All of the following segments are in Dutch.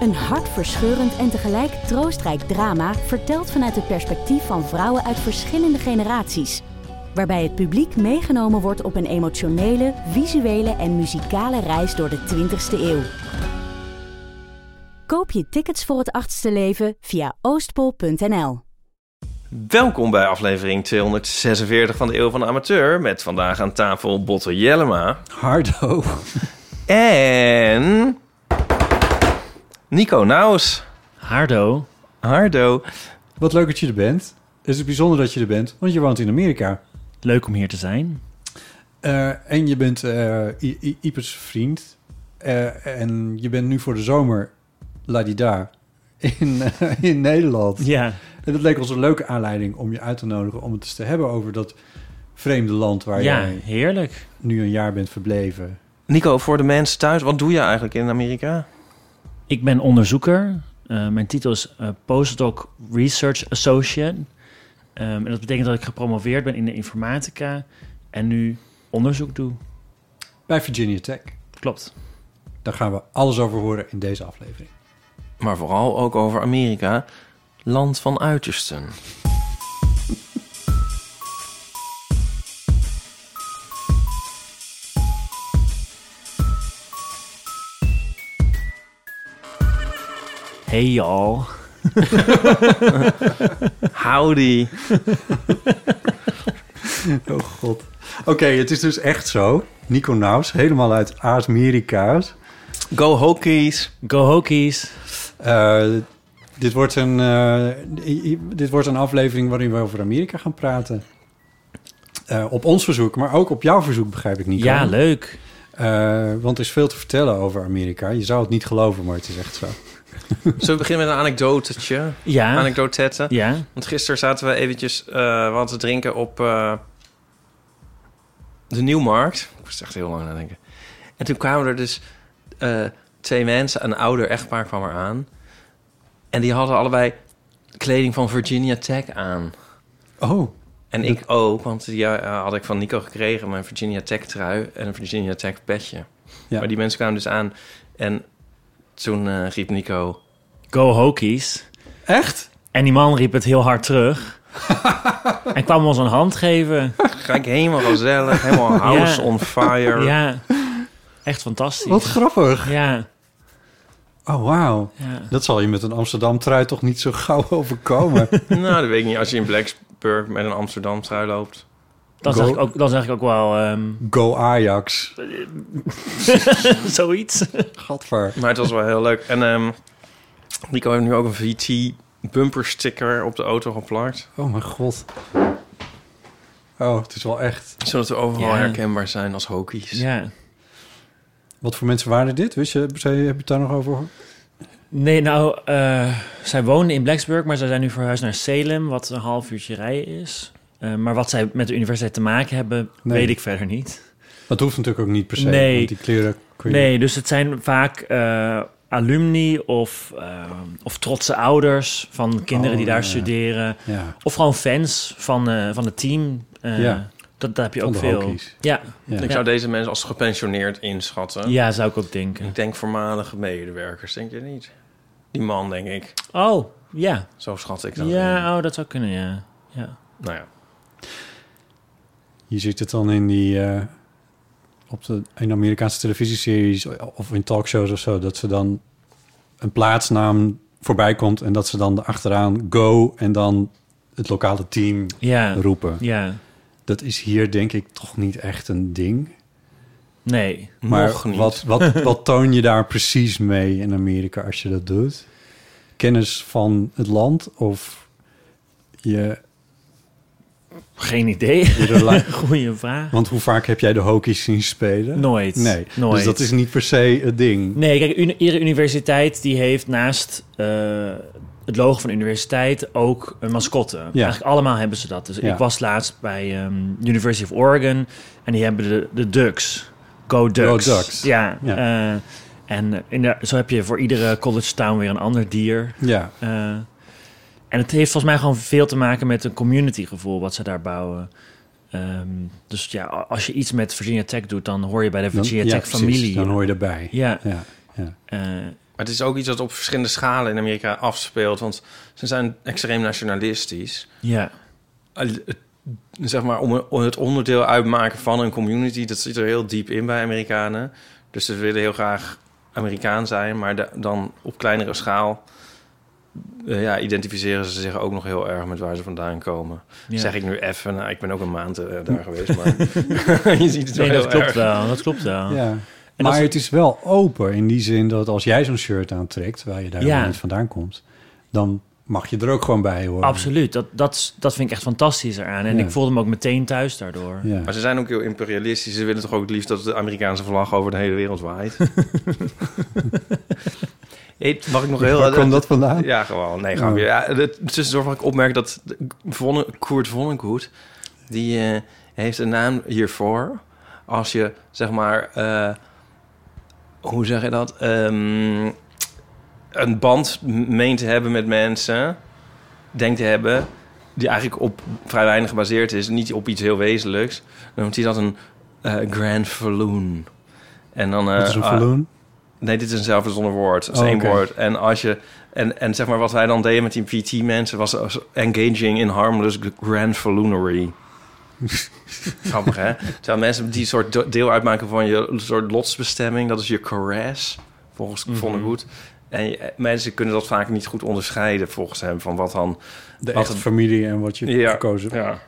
Een hartverscheurend en tegelijk troostrijk drama... verteld vanuit het perspectief van vrouwen uit verschillende generaties waarbij het publiek meegenomen wordt op een emotionele, visuele en muzikale reis door de 20ste eeuw. Koop je tickets voor het achtste leven via oostpol.nl. Welkom bij aflevering 246 van de Eeuw van de Amateur. Met vandaag aan tafel Botte Jellema. Hardo. En... Nico Nauws. Hardo. Hardo. Wat leuk dat je er bent. Het is bijzonder dat je er bent, want je woont in Amerika. Leuk om hier te zijn. Eh, en je bent eh, I- I- Ipers vriend. Eh, en je bent nu voor de zomer ladida in, eh, in Nederland. Ja. En dat leek ons een leuke aanleiding om je uit te nodigen... om het eens te hebben over dat vreemde land waar ja, jij heerlijk. nu een jaar bent verbleven. Nico, voor de mensen thuis, wat doe je eigenlijk in Amerika? Ik ben onderzoeker. Eh, mijn titel is eh, Postdoc Research Associate. Ehm, en dat betekent dat ik gepromoveerd ben in de informatica en nu onderzoek doe. Bij Virginia Tech. Klopt. Daar gaan we alles over horen in deze aflevering. Maar vooral ook over Amerika. Land van uitersten. Hey y'all. Howdy. Oh god. Oké, het is dus echt zo. Nico Naus, helemaal uit Aas-Amerika's. Go Hokies. Go Hokies. Eh, dit, wordt een, eh, i- i- dit wordt een aflevering waarin we over Amerika gaan praten. Eh, op ons verzoek, maar ook op jouw verzoek, begrijp ik niet. Ja, leuk. want er is veel te vertellen over Amerika. Je zou het niet geloven, maar het is echt zo. Zullen we beginnen met een anekdotetje? Ja. Anekdotette. Ja. Want gisteren zaten we eventjes eh, wat te drinken op eh, de Nieuwmarkt. Ik moest echt heel lang nadenken. En toen kwamen er dus eh, twee mensen, een ouder echtpaar kwam er aan. En die hadden allebei kleding van Virginia Tech aan. Oh, En ik ook, want die eh, had ik van Nico gekregen, mijn Virginia Tech trui en een Virginia Tech petje. Ja. Maar die mensen kwamen dus aan en toen eh, riep Nico... Go Hokies. echt? En die man riep het heel hard terug. en kwam ons een hand geven. Ga ik helemaal gezellig, helemaal house Ja. on fire. Ja. Echt fantastisch. Wat grappig. Ja. Oh, wauw. Ja. Dat zal je met een Amsterdam-trui toch niet zo gauw overkomen. Nou, dat weet ik niet. Als je in Blacksburg met een Amsterdam trui loopt. Dan, Go- zeg ik ook, dan zeg ik ook wel ehm, Go Ajax. zoiets. Gadver. Maar het was wel heel leuk. En ehm Nico heeft nu ook een VT bumper sticker op de auto geplakt. Oh, mijn god. Oh, het is wel echt. Zodat we overal Ja. herkenbaar zijn als hokies. Ja. Wat voor mensen waren dit? Wist je, zei- heb je het daar nog over? Nee, nou, eh, zij woonden in Blacksburg, maar zij zijn nu verhuisd naar Salem, wat een half uurtje rijden is. Eh, maar wat zij met de universiteit te maken hebben, Nee. weet ik verder niet. Dat hoeft natuurlijk ook niet per se. Nee. want die kleren kun je- Nee, dus het zijn vaak eh, alumni of, eh, of trotse ouders van kinderen Oh, die daar ja. studeren. Ja, Of gewoon fans van, eh, van het team. Eh, Ja. dat, daar heb je Van ook de veel. hokies. Ja. ja. Ik zou deze mensen als gepensioneerd inschatten. ja, zou ik ook denken. Ik denk voormalige medewerkers, denk je niet? Die man, denk ik. Oh, ja. Zo schat ik dat. in. Ja, oh, dat zou kunnen, ja. ja. Nou ja. Je ziet het dan in die. eh, op de, in Amerikaanse televisieseries of in talkshows of zo. Dat ze dan een plaatsnaam voorbij komt. En dat ze dan achteraan go en dan het lokale team Ja. roepen. Ja. Dat is hier denk ik toch niet echt een ding. Nee. Maar Nog niet. Wat, wat, wat toon je daar precies mee in Amerika als je dat doet? Kennis van het land of je Geen idee. Iedere la- Goeie vraag. Want hoe vaak heb jij de Hokies zien spelen? Nooit. Nee, Nooit. dus dat is niet per se het ding. Nee, kijk, uni- iedere universiteit die heeft naast eh, het logo van de universiteit ook een mascotte. Eigenlijk allemaal hebben ze dat. Dus Ja. ik was laatst bij ehm, University of Oregon en die hebben de, de Ducks. Go Ducks. Go Ducks. Ja. Ja. eh, en in de- zo heb je voor iedere college town weer een ander dier. Ja, Eh, en het heeft volgens mij gewoon veel te maken met een communitygevoel wat ze daar bouwen. Ehm, dus ja, a- als je iets met Virginia Tech doet, dan hoor je bij de dan, Virginia ja, Tech precies, familie. Dan hoor je erbij. Ja. Ja. eh, Maar het is ook iets dat op verschillende schalen in Amerika afspeelt. Want ze zijn extreem nationalistisch. ja. Eh, het- Zeg maar, om om het onderdeel uitmaken van een community... dat zit er heel diep in bij Amerikanen. Dus ze willen heel graag Amerikaan zijn... maar da- dan op kleinere schaal... eh, ja, identificeren ze zich ook nog heel erg met waar ze vandaan komen. ja. Zeg ik nu even, nou, ik ben ook een maand eh, daar geweest, maar je ziet het wel Nee, heel dat klopt erg. wel. Dat klopt wel. Ja. En maar als- het is wel open in die zin dat als jij zo'n shirt aantrekt, waar je daar Ja. niet vandaan komt, dan mag je er ook gewoon bij horen. Absoluut. Dat, dat, is- dat vind ik echt fantastisch eraan. En Ja. ik voelde me ook meteen thuis daardoor. Ja. Maar ze zijn ook heel imperialistisch. Ze willen toch ook het liefst dat de Amerikaanse vlag over de hele wereld waait. Hey, mag ik nog heel... Waar komt dat vandaan? Ja, gewoon. Nee, grapje. Ja, het, tussendoor mag ik opmerken dat de- Vonne, Koert Vonnegut... die eh, heeft een naam hiervoor. Als je, zeg maar... eh, hoe zeg je dat? Ehm, een band meent te hebben met mensen... denkt te hebben... die eigenlijk op vrij weinig gebaseerd is... niet op iets heel wezenlijks. Dan noemt hij dat een eh, grand verloon. En dan... eh, Dat is een ah, verloen. Nee, dit is een zelfverzonnen woord. Het is Oh, één oké. woord. En als je... En, en zeg maar wat wij dan deden met die PT-mensen... was als engaging in harmless grand falloonery. Grappig, hè? Terwijl mensen die soort do- deel uitmaken van je soort lotsbestemming... dat is je caress, volgens mm Mhm. goed. En je- eh, mensen kunnen dat vaak niet goed onderscheiden, volgens hem... van wat dan... de wat echte het- familie en wat je gekozen ja.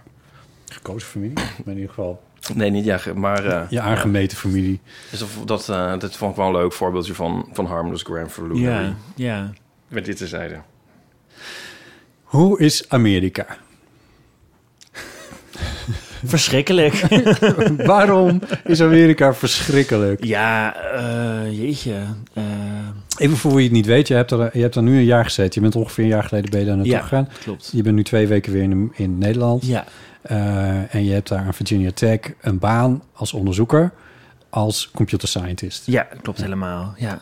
Gekozen familie? Maar in ieder geval Nee, niet ja, ge- maar... eh, je aangemeten familie. dus dat- dat, eh, dat vond ik wel een leuk voorbeeldje van, van harmless grand falloonery. Ja, ja. Met dit terzijde. Hoe is Amerika? Verschrikkelijk. Waarom is Amerika verschrikkelijk? ja, eh, jeetje. Eh, Even voor wie het niet weet, je hebt, er, je hebt er nu een jaar gezeten. Je bent ongeveer een jaar geleden ben je daar naartoe Ja. gegaan. klopt. Je bent nu twee weken weer in, in Nederland. Ja, Eh, en je hebt daar aan Virginia Tech een baan als onderzoeker, als computer scientist. ja klopt helemaal. Ja.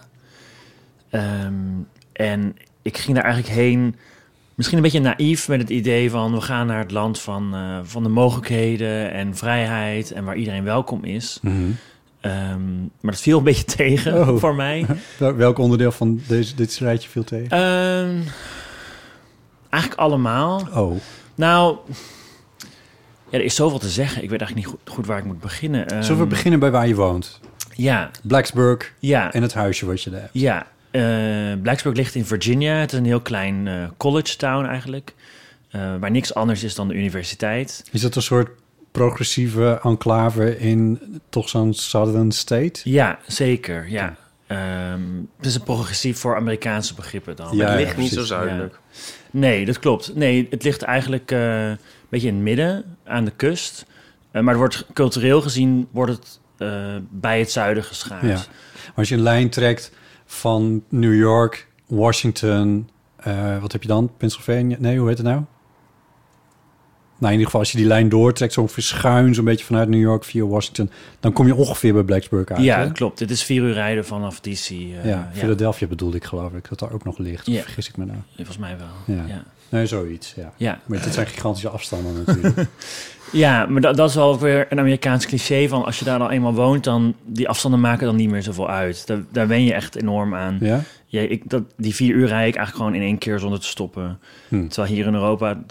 Ehm, en ik ging daar eigenlijk heen... Misschien een beetje naïef met het idee van... we gaan naar het land van, eh, van de mogelijkheden en vrijheid... en waar iedereen welkom is. Mhm. Ehm, maar dat viel een beetje tegen Oh. voor mij. Wel- Welk onderdeel van deze, dit strijdje viel tegen? Ehm, eigenlijk allemaal. Oh, Nou, ja, er is zoveel te zeggen. Ik weet eigenlijk niet goed, goed waar ik moet beginnen. Ehm, zullen we beginnen bij waar je woont? Ja, Blacksburg ja, en het huisje wat je daar hebt. ja. Eh, Blacksburg ligt in Virginia. Het is een heel klein eh, college town eigenlijk. Eh, waar niks anders is dan de universiteit. Is dat een soort progressieve enclave in toch zo'n Southern State? Ja, zeker, ja. Ehm, het is een progressief voor Amerikaanse begrippen dan. Ja, het ja, ligt niet zo precies. zuidelijk. Nee, dat klopt. Nee, het ligt eigenlijk eh, een beetje in het midden, aan de kust. Eh, maar het wordt cultureel gezien wordt het eh, bij het zuiden geschaard. Ja. Als je een lijn trekt van New York, Washington, eh, wat heb je dan? Pennsylvania? Nee, hoe heet het nou? Nou, in ieder geval als je die lijn doortrekt, zo ongeveer schuin, zo'n beetje vanuit New York via Washington, dan kom je ongeveer bij Blacksburg uit. Ja, hè? klopt. Dit is vier uur rijden vanaf DC. eh, ja, ja, Philadelphia bedoelde ik geloof ik, dat daar ook nog ligt. Of Ja. Vergis ik me nou. volgens mij wel. Ja. Ja, ja. Nee, zoiets, ja. ja. Maar dit zijn gigantische afstanden natuurlijk. maar dat, dat is wel ook weer een Amerikaans cliché van als je daar al eenmaal woont, dan die afstanden maken dan niet meer zoveel uit. Daar, daar wen je echt enorm aan. ja? Ja, ik, dat, die vier uur rijd ik eigenlijk gewoon in één keer zonder te stoppen. Hm. Terwijl hier in Europa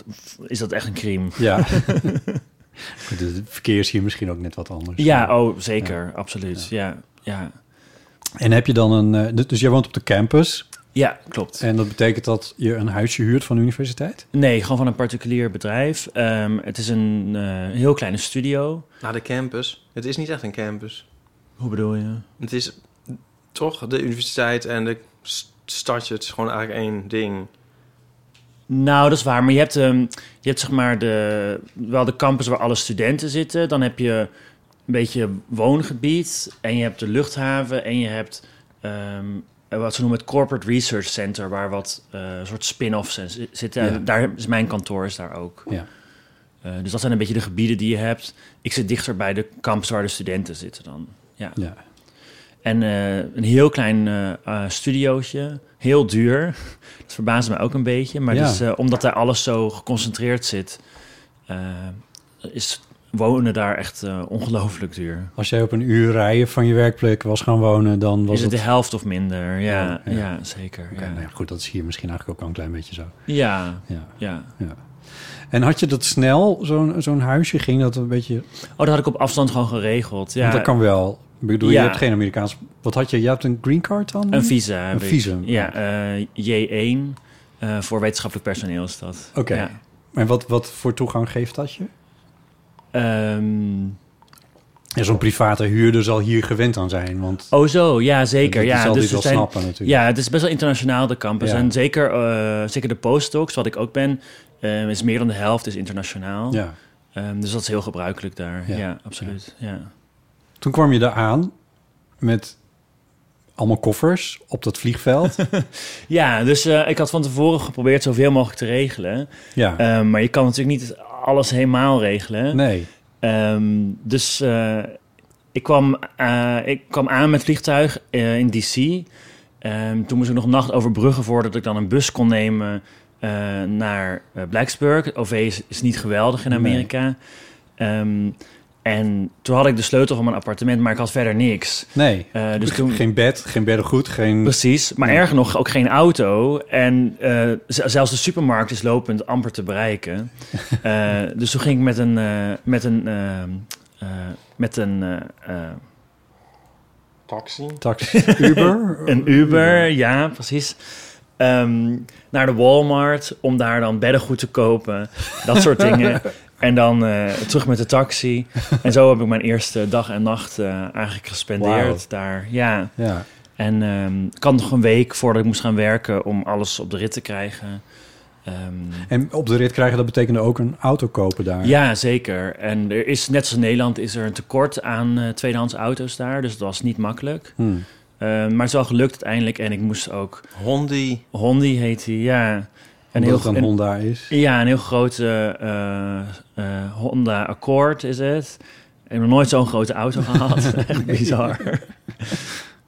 is dat echt een crime. Ja. Goed, Het verkeer is hier misschien ook net wat anders. Ja, oh, zeker. Absoluut. Ja. Ja. En heb je dan een... eh, dus- Dus jij woont op de campus. ja, klopt. En dat betekent dat je een huisje huurt van de universiteit? Nee, gewoon van een particulier bedrijf. Ehm, het is een eh, heel kleine studio. Naar de campus. Het is niet echt een campus. Hoe bedoel je? Het is toch de universiteit en de s- stadje. Het is gewoon eigenlijk één ding. Nou, dat is waar. Maar je hebt, ehm, je hebt zeg maar de, wel de campus waar alle studenten zitten. Dan heb je een beetje woongebied. En je hebt de luchthaven. En je hebt ehm, wat ze noemen het Corporate Research Center. Waar wat eh, soort spin-offs in zi- zitten. Ja. En daar is mijn kantoor is daar ook. Ja. Eh, dus dat zijn een beetje de gebieden die je hebt. Ik zit dichter bij de campus waar de studenten zitten dan. Ja. Ja. En eh, een heel klein eh eh, studiootje. Heel duur. Dat verbaasde me ook een beetje. Maar Ja. dus, eh, omdat daar alles zo geconcentreerd zit, eh, is wonen daar echt eh, ongelooflijk duur. Als jij op een uur rijden van je werkplek was gaan wonen, dan was is het het... de helft of minder? Ja, Ja, ja. ja. zeker. Oké, ja. nou ja, goed, dat is hier misschien eigenlijk ook al een klein beetje zo. ja, Ja. ja. En had je dat snel, zo'n zo'n huisje? Ging dat een beetje... Oh, dat had ik op afstand gewoon geregeld. Ja, Want dat kan wel. Ik bedoel, je Ja. hebt geen Amerikaans... Wat had je? Je hebt een green card dan? Een visa. heb Een ik. visum. Ja, eh, J1 eh, voor wetenschappelijk personeel is dat. Oké. Ja. En wat, wat voor toegang geeft dat je? Ehm, Ja, zo'n private huurder zal hier gewend aan zijn, want... oh zo, ja die- zeker. die Ja, zal dus dit er wel zijn, snappen natuurlijk. ja, het is best wel internationaal de campus. Ja. En zeker, eh, zeker de postdocs, wat ik ook ben, eh, is meer dan de helft is internationaal. ja. Ehm, dus dat is heel gebruikelijk daar. Ja. Ja, absoluut. Ja. Toen kwam je daar aan met allemaal koffers op dat vliegveld. Ja. dus eh, ik had van tevoren geprobeerd zoveel mogelijk te regelen. ja, Ehm, maar je kan natuurlijk niet alles helemaal regelen. nee. Ehm, dus eh, ik, kwam, eh, ik kwam aan met vliegtuig eh, in DC. Ehm, toen moest ik nog een nacht overbruggen voordat ik dan een bus kon nemen eh, naar eh, Blacksburg. Het OV is, is niet geweldig in Nee. Amerika. Ehm, en toen had ik de sleutel van mijn appartement, maar ik had verder niks. Nee. Eh, dus toen, Geen bed, geen beddengoed, geen... Precies, maar erger nog, ook geen auto. En eh, z- zelfs de supermarkt is lopend amper te bereiken. Eh, dus toen ging ik met een, eh, met een, eh, eh, met een, eh, eh, Taxi. taxi, Uber. een Uber, ja, precies. ehm, naar de Walmart om daar dan beddengoed te kopen. Dat soort dingen. En dan eh, terug met de taxi. En zo heb ik mijn eerste dag en nacht eh, eigenlijk gespendeerd daar. Ja. Ja, En ehm, ik had nog een week voordat ik moest gaan werken om alles op de rit te krijgen. Ehm, en op de rit krijgen, dat betekende ook een auto kopen daar. ja, zeker. En er is, net als in Nederland, is er een tekort aan eh, tweedehands auto's daar. Dus dat was niet makkelijk. Hmm. Ehm, maar het is wel gelukt uiteindelijk. En ik moest ook... Hondi. Hondi heet die, ja. En Een heel het een een- Honda is. Ja, een heel grote eh, eh, Honda Accord is het. Ik heb nog nooit zo'n grote auto gehad. Echt bizar.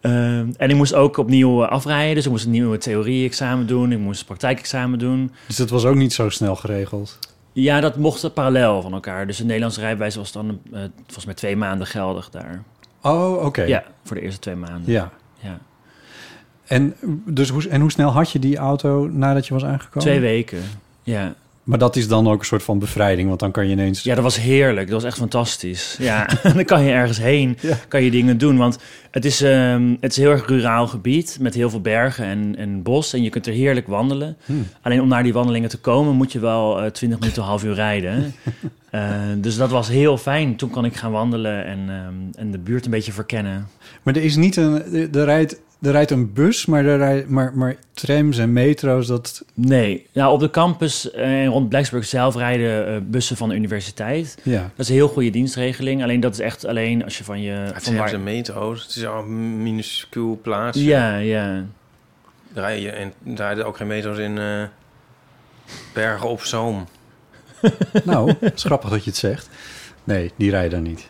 Ehm, en ik moest ook opnieuw eh, afrijden. Dus ik moest een nieuwe theorie-examen doen. Ik moest een praktijkexamen doen. Dus dat was ook niet zo snel geregeld. Ja, dat mocht parallel van elkaar. Dus de Nederlandse rijbewijs was dan eh, volgens mij twee maanden geldig daar. Oh, oké. Ja, voor de eerste twee maanden. Ja. Ja. En, dus hoe, en hoe snel had je die auto nadat je was aangekomen? Twee weken. Ja. Maar dat is dan ook een soort van bevrijding, want dan kan je ineens... Ja, dat was heerlijk. Dat was echt fantastisch. Ja, dan kan je ergens heen, kan je dingen doen. Want het is, ehm, het is een heel erg ruraal gebied met heel veel bergen en, en bos. En je kunt er heerlijk wandelen. Hmm. Alleen om naar die wandelingen te komen moet je wel eh, twintig minuten, een half uur rijden. Eh, dus dat was heel fijn. Toen kon ik gaan wandelen en, ehm, en de buurt een beetje verkennen. Maar er is niet een... Er, er rijdt, er rijdt een bus, maar, er rijdt, maar, maar trams en metro's, dat... Nee, nou op de campus en rond Blacksburg zelf rijden eh, bussen van de universiteit. Ja. Dat is een heel goede dienstregeling. Alleen dat is echt alleen als je van je... Het van zijn de metro's. Het is al een minuscuul plaatsje. Ja, ja. Daar rijden je- en daar rijden ook geen metro's in eh, Bergen op Zoom. Nou, het is grappig dat je het zegt. Nee, die rijden daar niet.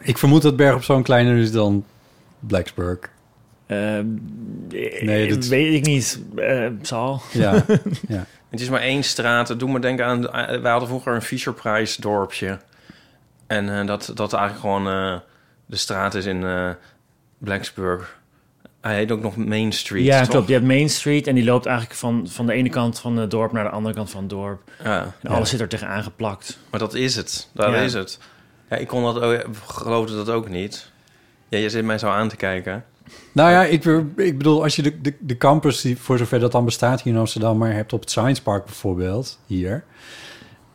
Ik vermoed dat Berg op Zoom kleiner is dan Blacksburg. Ehm, Nee, eh, dat- weet ik niet. Eh, zal. Ja, Het is maar één straat. Het doet me denken aan... eh, Wij hadden vroeger een Fischerprijs dorpje. En eh, dat, dat eigenlijk gewoon eh, de straat is in eh Blacksburg. Hij heet ook nog Main Street, ja, toch? klopt. Je hebt Main Street en die loopt eigenlijk van, van de ene kant van het dorp naar de andere kant van het dorp. Ja, En alles zit er tegenaan geplakt. maar dat is het. Daar Ja. is het. Ja, ik kon dat ook, geloofde dat ook niet. Ja, je zit mij zo aan te kijken. Nou ja, ik, be- ik bedoel, als je de, de, de campus, die voor zover dat dan bestaat hier in Amsterdam, maar hebt op het Science Park bijvoorbeeld, hier.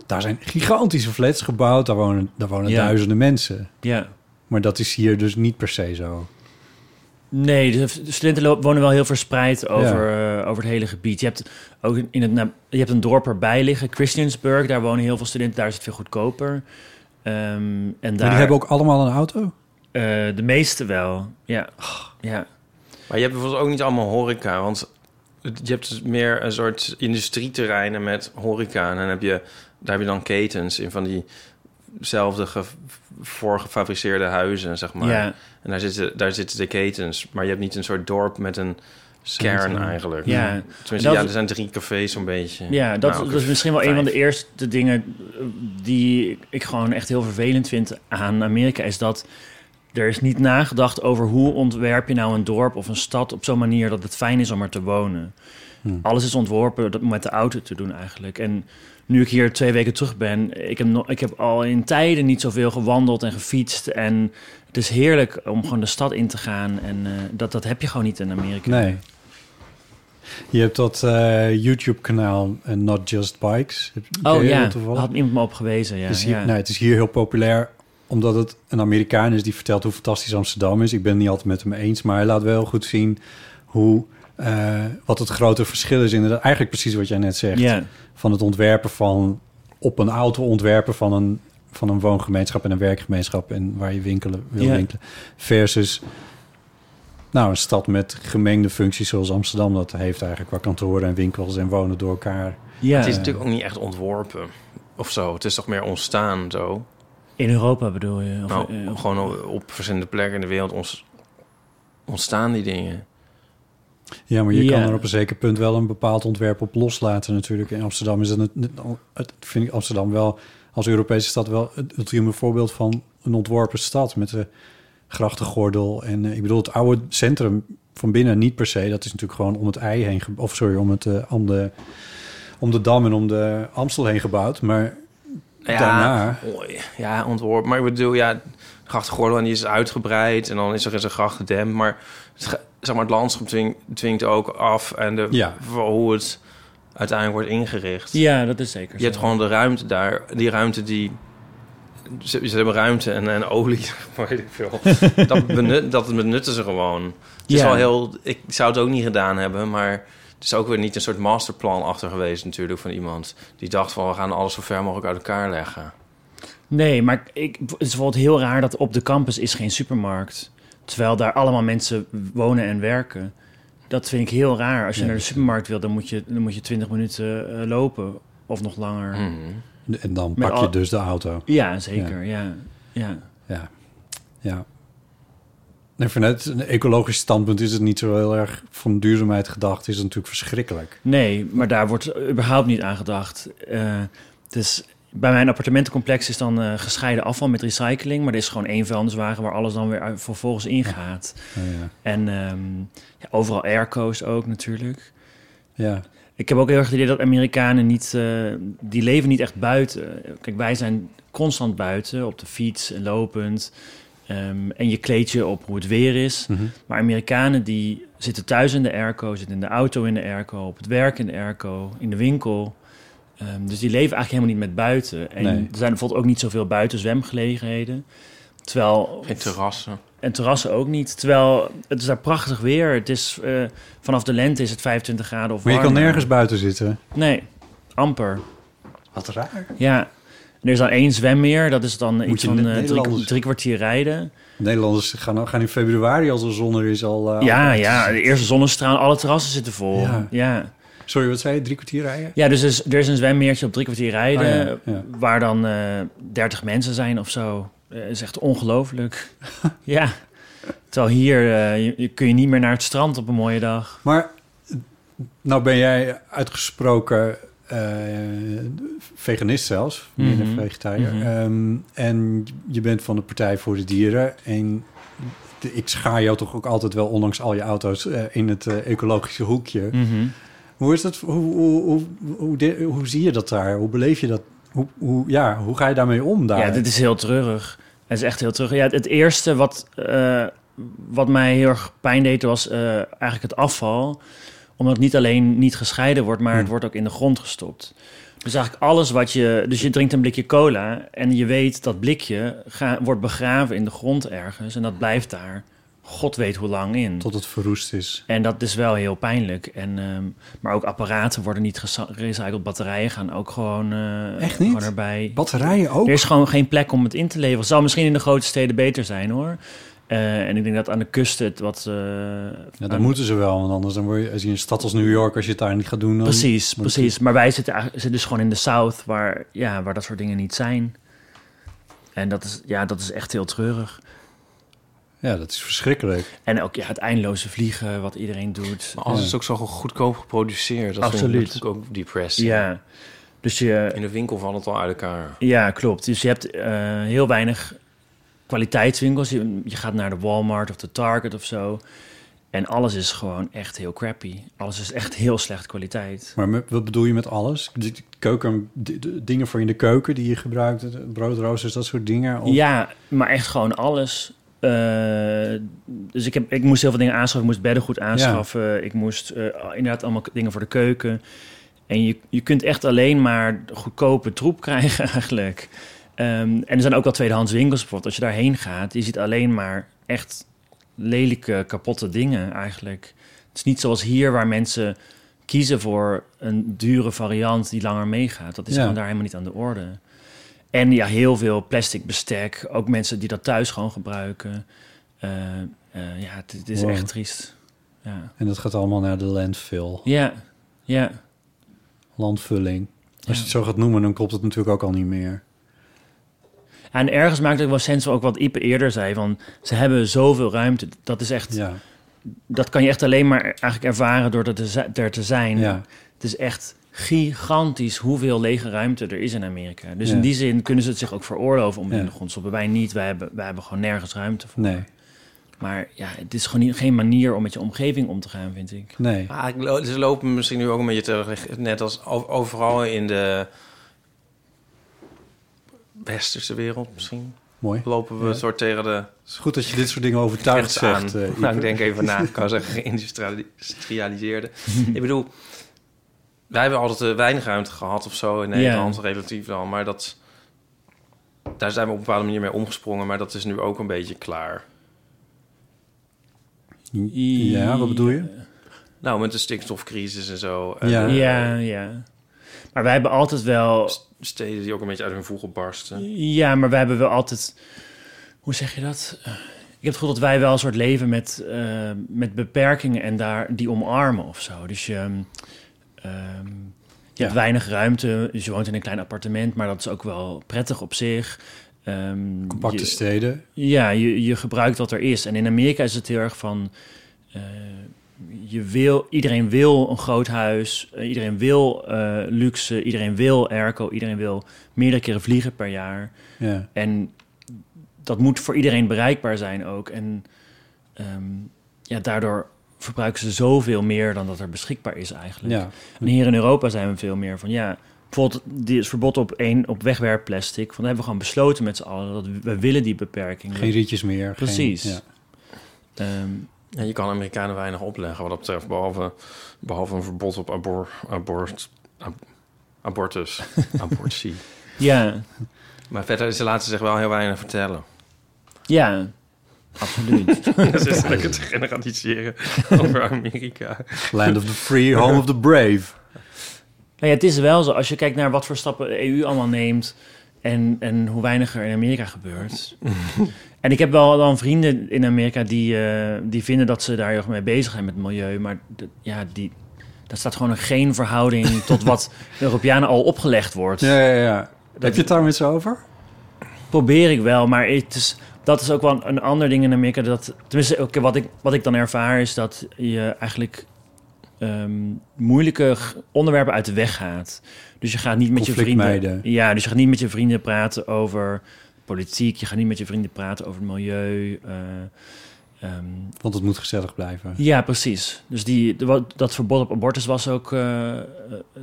Daar zijn gigantische flats gebouwd, daar wonen, daar wonen Ja. duizenden mensen. Ja. Maar dat is hier dus niet per se zo. Nee, de de studenten lo- wonen wel heel verspreid over, eh, over het hele gebied. Je hebt ook in het, na- je hebt een dorp erbij liggen, Christiansburg. Daar wonen heel veel studenten, daar is het veel goedkoper. Ehm, en daar, Maar die hebben ook allemaal een auto? eh, de meeste wel, ja. ja. Maar je hebt bijvoorbeeld ook niet allemaal horeca, want het- je hebt dus meer een soort industrieterreinen met horeca. En dan heb je, daar heb je dan ketens in van diezelfde ge- voorgefabriceerde huizen, zeg maar. ja. En daar zitten, daar zitten de ketens, maar je hebt niet een soort dorp met een kern eigenlijk. Ja. Tenminste, Dat- ja, er zijn drie cafés zo'n beetje. Ja, dat, Nou, dat is misschien wel een van de vijf. eerste dingen eh, die ik gewoon echt heel vervelend vind aan Amerika. Is dat er is niet nagedacht over hoe ontwerp je nou een dorp of een stad op zo'n manier dat het fijn is om er te wonen. Hmm. Alles is ontworpen dat- om met de auto te doen eigenlijk. En nu ik hier twee weken terug ben, ik heb, no- ik heb al in tijden niet zoveel gewandeld en gefietst. En het is heerlijk om gewoon de stad in te gaan. En eh, dat, dat heb je gewoon niet in Amerika. Nee. Je hebt dat eh, YouTube-kanaal eh, Not Just Bikes. Heb- ken Oh je dat ja, toevallig? had iemand me op gewezen. Ja, Het is hier, nou, ja. nee, het is hier heel populair omdat het een Amerikaan is die vertelt hoe fantastisch Amsterdam is. Ik ben het niet altijd met hem eens, maar hij laat wel goed zien hoe, eh, wat het grote verschil is. Inderdaad, eigenlijk precies wat jij net zegt. Ja. Van het ontwerpen van, op een auto ontwerpen van een, van een woongemeenschap en een werkgemeenschap en waar je winkelen wil Ja. winkelen. Versus nou, een stad met gemengde functies zoals Amsterdam dat heeft eigenlijk. Waar kantoren en winkels en wonen door elkaar. Ja. Het is natuurlijk ook niet echt ontworpen of zo. Het is toch meer ontstaan zo. In Europa bedoel je? Of, Nou, eh, of- gewoon op, op verschillende plekken in de wereld ons- ontstaan die dingen. Ja, maar je Ja. kan er op een zeker punt wel een bepaald ontwerp op loslaten natuurlijk. In Amsterdam is dat het, het- vind ik Amsterdam wel als Europese stad wel het ultieme voorbeeld van een ontworpen stad met de grachtengordel en eh, ik bedoel het oude centrum van binnen niet per se. Dat is natuurlijk gewoon om het ei heen ge- of sorry om het eh, om de om de dam en om de Amstel heen gebouwd, maar daarna oh, ja, ontworpen. Maar ik bedoel, ja, de grachtengordel en die is uitgebreid en dan is er eens een gracht gedempt. Maar het, ge- zeg maar, het landschap dwing- dwingt ook af en de, Ja. voor hoe het uiteindelijk wordt ingericht. Ja, dat is zeker. Je hebt gewoon de ruimte daar. Die ruimte die... Ze, ze hebben ruimte en, en olie, weet ik veel. Dat, benut, dat benutten ze gewoon. Het is Ja. wel heel... Ik zou het ook niet gedaan hebben, maar... Het is ook weer niet een soort masterplan achter geweest natuurlijk van iemand... die dacht van, we gaan alles zo ver mogelijk uit elkaar leggen. Nee, maar ik, het is bijvoorbeeld heel raar dat op de campus is geen supermarkt. Terwijl daar allemaal mensen wonen en werken. Dat vind ik heel raar. Als je Ja, naar de supermarkt wil, dan moet je, dan moet je 20 minuten eh, lopen. Of nog langer. Mhm. en dan Met pak je al- dus de auto. Ja, zeker. Ja. Ja. Ja, ja. En vanuit een ecologisch standpunt is het niet zo heel erg van duurzaamheid gedacht. Is het natuurlijk verschrikkelijk. Nee, maar daar wordt überhaupt niet aan gedacht. Eh, dus bij mijn appartementencomplex is dan eh, gescheiden afval met recycling. Maar er is gewoon één vuilniswagen waar alles dan weer uit- vervolgens ingaat. Ja, ja. En ehm, ja, overal airco's ook natuurlijk. ja. Ik heb ook heel erg het idee dat Amerikanen niet... eh, die leven niet echt buiten. Kijk, wij zijn constant buiten. Op de fiets en lopend. Ehm, en je kleed je op hoe het weer is. Mhm. Maar Amerikanen die zitten thuis in de airco... zitten in de auto in de airco... op het werk in de airco, in de winkel... Ehm, dus die leven eigenlijk helemaal niet met buiten. En Nee. er zijn bijvoorbeeld ook niet zoveel buitenzwemgelegenheden. Terwijl Geen terrassen. en terrassen ook niet. Terwijl het is daar prachtig weer. Het is, eh, vanaf de lente is het 25 graden of Maar je kan warmer. nergens buiten zitten. Nee, amper. Wat raar. Ja. En er is dan één zwemmeer. Dat is dan iets je van net eh, drie, Nederlanders- drie kwartier rijden. Nederlanders gaan, gaan in februari als de zon er is al... eh, ja, al- ja. De eerste zonnestraal. Alle terrassen zitten vol. Ja. Ja. ja. Sorry, wat zei je? Drie kwartier rijden? dus er is, er is een zwemmeertje op drie kwartier rijden. Oh ja, ja. Waar dan eh 30 mensen zijn of zo. Eh, is echt ongelooflijk. ja. Terwijl hier eh, je- je kun je niet meer naar het strand op een mooie dag. Maar nou ben jij uitgesproken eh, veganist zelfs, meer een Mhm. vegetariër. Mhm. Ehm, en je bent van de Partij voor de Dieren. En de- ik schaar jou toch ook altijd wel, ondanks al je auto's, eh, in het eh, ecologische hoekje. Mhm. Hoe, is dat, hoe, hoe, hoe, hoe, de- hoe zie je dat daar? Hoe beleef je dat? Hoe, hoe, ja, hoe ga je daarmee om daar? Ja, dit is heel treurig. Het is echt heel treurig. Ja, het, het eerste wat, eh, wat mij heel erg pijn deed was eh, eigenlijk het afval. Omdat het niet alleen niet gescheiden wordt, maar het Hm. wordt ook in de grond gestopt. Dus eigenlijk alles wat je... Dus je drinkt een blikje cola en je weet dat blikje ga- wordt begraven in de grond ergens. En dat blijft daar god weet hoe lang in. Hmm. Tot het verroest is. En dat is wel heel pijnlijk. En, ehm, maar ook apparaten worden niet gesa- gerecycled. Batterijen gaan ook gewoon, eh, Echt niet? gewoon erbij. Batterijen ook? Er is gewoon geen plek om het in te leveren. Het zal misschien in de grote steden beter zijn hoor. Eh, en ik denk dat aan de kust het wat. eh, Ja, aan- dan moeten ze wel, want anders dan word je, als je in een stad als New York, als je het daar niet gaat doen... Dan, Precies, dan- precies. Maar wij zitten, eigenlijk- zitten dus gewoon in de South, waar, ja, waar dat soort dingen niet zijn. En dat is, ja, dat is echt heel treurig. Ja, dat is verschrikkelijk. En ook ja, het eindeloze vliegen, wat iedereen doet. Maar alles is ook zo goedkoop geproduceerd. Dat Absoluut. Vind ik natuurlijk ook depressing. Ja, dus je, In de winkel valt het al uit elkaar. ja klopt. Dus je hebt eh, heel weinig kwaliteitswinkels. Je, je gaat naar de Walmart of de Target of zo. En alles is gewoon echt heel crappy. Alles is echt heel slecht kwaliteit. Maar met- wat bedoel je met alles? De- de Keuken, de- de dingen voor in de keuken die je gebruikt, de- de broodroosters, dat soort dingen? Of, Ja, maar echt gewoon alles. Eh, dus ik, heb, ik moest heel veel dingen aanschaffen. Ik moest beddengoed aanschaffen. Ik moest eh, inderdaad allemaal k- dingen voor de keuken. En je, je kunt echt alleen maar goedkope troep krijgen eigenlijk. Ehm, en er zijn ook wel tweedehands winkels bijvoorbeeld. Als je daarheen gaat, je ziet alleen maar echt lelijke, kapotte dingen eigenlijk. Het is niet zoals hier waar mensen kiezen voor een dure variant die langer meegaat. Dat is Ja. gewoon daar helemaal niet aan de orde. En ja, heel veel plastic bestek. Ook mensen die dat thuis gewoon gebruiken. Eh, eh, ja, het, het is Wow. echt triest. Ja, En dat gaat allemaal naar de landfill, ja. ja. landvulling. Als Ja. je het zo gaat noemen, dan klopt het natuurlijk ook al niet meer. En ergens maakt het ook wel sens ook wat Ipe eerder zei. Van, ze hebben zoveel ruimte. Dat, is echt, Ja, dat kan je echt alleen maar eigenlijk ervaren door er te, zi- er te zijn. ja. Het is echt gigantisch hoeveel lege ruimte er is in Amerika. Dus Ja. in die zin kunnen ze het zich ook veroorloven om het Ja. in de grond te stoppen. Wij niet, wij hebben, wij hebben gewoon nergens ruimte voor. nee, Maar ja, het is gewoon niet- geen manier om met je omgeving om te gaan, vind ik. nee. Ah, ik lo- ze lopen misschien nu ook een beetje terug. eh, Net als o- overal in de westerse wereld misschien. Mooi. Lopen we een soort tegen de Het is goed dat je dit soort dingen overtuigd grens aan. zegt. eh, Iep. nou, ik denk even na. Ik kan zeggen geïndustrialiseerde. ik bedoel, wij hebben altijd eh, weinig ruimte gehad of zo in Ja. Nederland, relatief dan. Maar dat, daar zijn we op een bepaalde manier mee omgesprongen. Maar dat is nu ook een beetje klaar. Ja, wat bedoel je? Nou, met de stikstofcrisis en zo. en, Ja. eh, Ja, ja. Maar wij hebben altijd wel... s- Steden die ook een beetje uit hun voegen barsten. Ja, maar wij hebben wel altijd... Hoe zeg je dat? Eh, Ik heb het gevoel dat wij wel een soort leven met, eh, met beperkingen en daar die omarmen of zo. Dus je, ehm, ehm, je Ja. hebt weinig ruimte. Dus je woont in een klein appartement, maar dat is ook wel prettig op zich. Ehm, Compacte je- steden. Ja, je, je gebruikt wat er is. En in Amerika is het heel erg van. eh, je wil, iedereen wil een groot huis, eh, iedereen wil eh, luxe, iedereen wil airco, iedereen wil meerdere keren vliegen per jaar. Ja. En dat moet voor iedereen bereikbaar zijn ook. En ehm, ja, daardoor verbruiken ze zoveel meer dan dat er beschikbaar is eigenlijk. ja. En hier in Europa zijn we veel meer van ja. Bijvoorbeeld die is verbod op één op wegwerpplastic. Want dan hebben we gewoon besloten met z'n allen dat we, we willen die beperking. Geen rietjes meer. geen- Precies. ja. Ehm, En je kan Amerikanen weinig opleggen wat dat betreft. Behalve, behalve een verbod op abor, abort, ab- abortus. Abortie. ja, Maar verder, ze laten zich wel heel weinig vertellen. ja, absoluut. Ze is lekker te generaliseren over Amerika. Land of the free, home of the brave. nou ja, het is wel zo. Als je kijkt naar wat voor stappen de EU allemaal neemt en, en hoe weinig er in Amerika gebeurt. en ik heb wel dan vrienden in Amerika die, eh, die vinden dat ze daar heel erg mee bezig zijn met milieu. Maar d- ja, die, daar staat gewoon een geen verhouding tot wat de Europeanen al opgelegd wordt. Ja, ja, ja. Heb je het daar met ze over? probeer ik wel, maar het is, dat is ook wel een, een ander ding in Amerika. Dat, tenminste, oké, wat, ik, wat ik dan ervaar is dat je eigenlijk ehm, moeilijke g- onderwerpen uit de weg gaat. Dus je gaat niet met je Conflict vrienden. mijden. Ja, dus je gaat niet met je vrienden praten over politiek. Je gaat niet met je vrienden praten over het milieu. eh, ehm, Want het moet gezellig blijven. ja, precies. Dus die, de- wat- dat verbod op abortus was ook... eh, eh,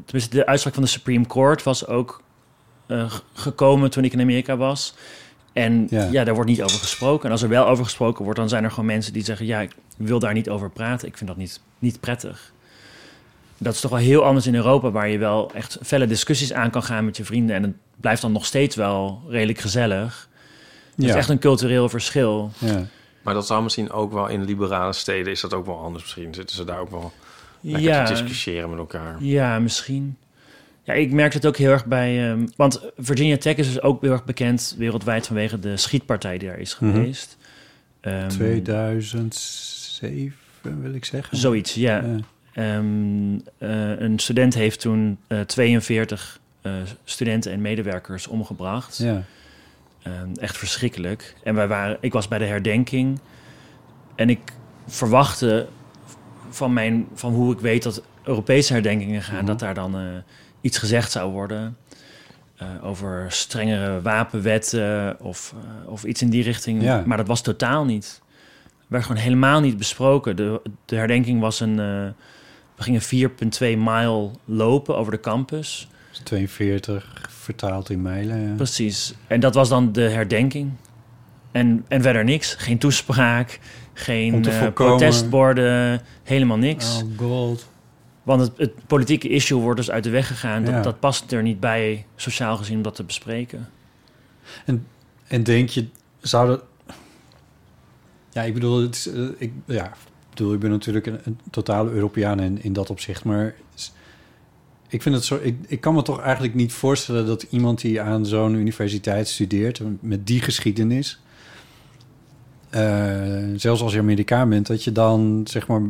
tenminste, de uitspraak van de Supreme Court was ook eh, g- gekomen toen ik in Amerika was. En ja. Ja. daar wordt niet over gesproken. En als er wel over gesproken wordt, dan zijn er gewoon mensen die zeggen... ja, ik wil daar niet over praten. Ik vind dat niet, niet prettig. Dat is toch wel heel anders in Europa... waar je wel echt felle discussies aan kan gaan met je vrienden. En het blijft dan nog steeds wel redelijk gezellig. Dat ja. is echt een cultureel verschil. ja. Maar dat zou misschien ook wel in liberale steden is dat ook wel anders. Misschien zitten ze daar ook wel lekker Ja. te discussiëren met elkaar. Ja, misschien. Ja, ik merk het ook heel erg bij... ehm, want Virginia Tech is dus ook heel erg bekend wereldwijd vanwege de schietpartij die daar is Mhm. geweest. Ehm, 2007 wil ik zeggen. Zoiets, ja. Ja. Ehm, eh, een student heeft toen eh, 42 eh, studenten en medewerkers omgebracht. ja. Ehm, echt verschrikkelijk. En wij waren, ik was bij de herdenking. En ik verwachtte van, mijn, van hoe ik weet dat Europese herdenkingen gaan, Mhm. dat daar dan eh, iets gezegd zou worden. eh, over strengere wapenwetten of, eh, of iets in die richting. Ja. Maar dat was totaal niet. Werd gewoon helemaal niet besproken. De, de herdenking was een. eh, we gingen 4,2 mijl lopen over de campus. Dus 42 vertaald in mijlen. ja. Precies. En dat was dan de herdenking. En, en verder niks. Geen toespraak, Om geen te eh, voorkomen. protestborden, helemaal niks. Oh god. Want het, het politieke issue wordt dus uit de weg gegaan. Ja. Dat, dat past er niet bij, sociaal gezien, om dat te bespreken. En denk je, zou dat... Ja, ik bedoel, het is, eh, ik, ja, ik bedoel, ik ben natuurlijk een, een totale Europeaan in, in dat opzicht, maar s- ik vind het zo, ik, ik kan me toch eigenlijk niet voorstellen dat iemand die aan zo'n universiteit studeert met die geschiedenis, eh, zelfs als je Amerikaan bent, dat je dan zeg maar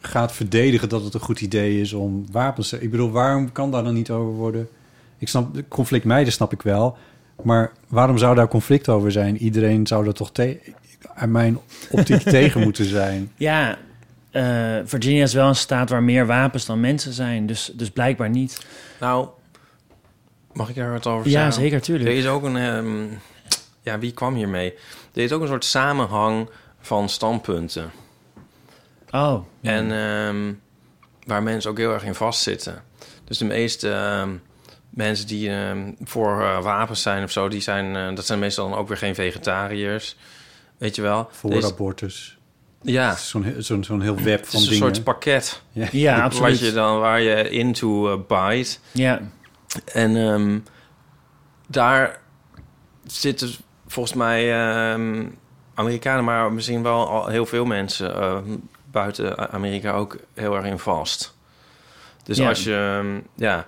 gaat verdedigen dat het een goed idee is om wapens te... Ik bedoel, waarom kan daar dan niet over worden? Ik snap, conflict meiden snap ik wel, maar waarom zou daar conflict over zijn? Iedereen zou er toch te- aan mijn optiek tegen moeten zijn. Ja, eh, Virginia is wel een staat waar meer wapens dan mensen zijn. Dus, dus blijkbaar niet. Nou, mag ik daar wat over zeggen? Ja, zeker, Er tuurlijk. is ook een... ehm, ja, wie kwam hiermee? Er is ook een soort samenhang van standpunten. Oh, En ehm, waar mensen ook heel erg in vastzitten. Dus de meeste ehm, mensen die ehm, voor eh, wapens zijn of zo, die zijn, eh, dat zijn meestal dan ook weer geen vegetariërs. Weet je wel? Voor Deze- abortus. ja, Het het is Zo'n he- zo'n zo'n heel web is van een dingen. soort pakket. ja, Wat je absoluut. dan, waar je into eh, bijt. Ja, En ehm, daar zitten volgens mij ehm, Amerikanen, maar misschien wel al heel veel mensen ehm, buiten Amerika ook heel erg in vast. Dus Ja. als je, ehm, ja,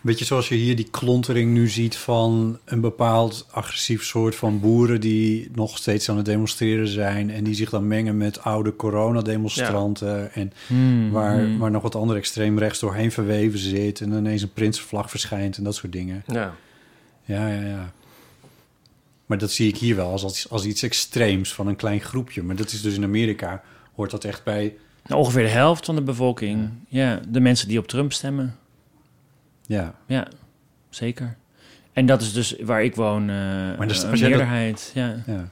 Beetje zoals je hier die klontering nu ziet van een bepaald agressief soort van boeren die nog steeds aan het demonstreren zijn en die zich dan mengen met oude coronademonstranten en Hmm, waar, hmm. waar nog wat andere extreem rechts doorheen verweven zit en ineens een prinsenvlag verschijnt en dat soort dingen. ja, Ja, ja, ja. Maar dat zie ik hier wel als, als, als iets extreems van een klein groepje. Maar dat is dus in Amerika, hoort dat echt bij... Nou, ongeveer de helft van de bevolking. ja, de mensen die op Trump stemmen. Ja, Ja, zeker. En dat is dus waar ik woon, eh dat is- een dus als jij dat- meerderheid. Ja. ja.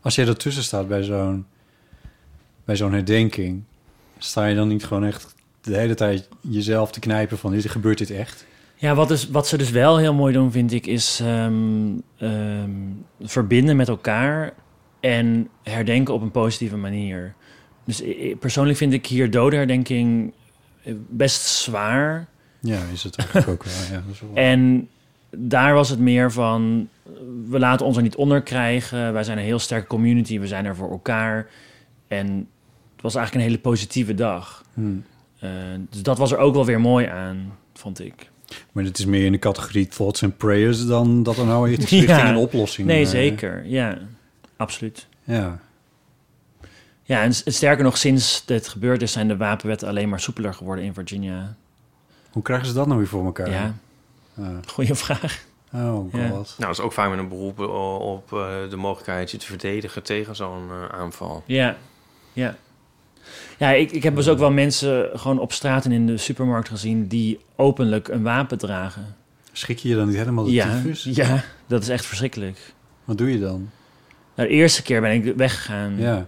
Als jij ertussen staat bij zo'n bij zo'n herdenking... sta je dan niet gewoon echt de hele tijd jezelf te knijpen van... Is, gebeurt dit echt? ja, wat, is, wat ze dus wel heel mooi doen, vind ik, is ehm, ehm, verbinden met elkaar en herdenken op een positieve manier. Dus i- i- persoonlijk vind ik hier dodenherdenking eh, best zwaar. Ja, is het eigenlijk ook wel. Ja, dat is wel- En daar was het meer van, we laten ons er niet onder krijgen. Wij zijn een heel sterke community, we zijn er voor elkaar. En het was eigenlijk een hele positieve dag. Hm. Eh, dus dat was er ook wel weer mooi aan, vond ik. Maar het is meer in de categorie thoughts and prayers... dan dat er nou iets richting Ja. een oplossing... Nee, eh, zeker. Ja, absoluut. Ja. Ja, en s- sterker nog, sinds dit gebeurd is, zijn de wapenwetten alleen maar soepeler geworden in Virginia. Hoe krijgen ze dat nou weer voor elkaar? Ja, Ah. goede vraag. Oh Ja. god. nou, dat is ook vaak met een beroep o- op eh, de mogelijkheid je te verdedigen tegen zo'n eh, aanval. Ja, ja. Ja, ik, ik heb dus ook wel mensen gewoon op straat en in de supermarkt gezien die openlijk een wapen dragen. Schrik je je dan niet helemaal de Ja, tyfus? ja, dat is echt verschrikkelijk. Wat doe je dan? Nou, de eerste keer ben ik weggegaan. Ja.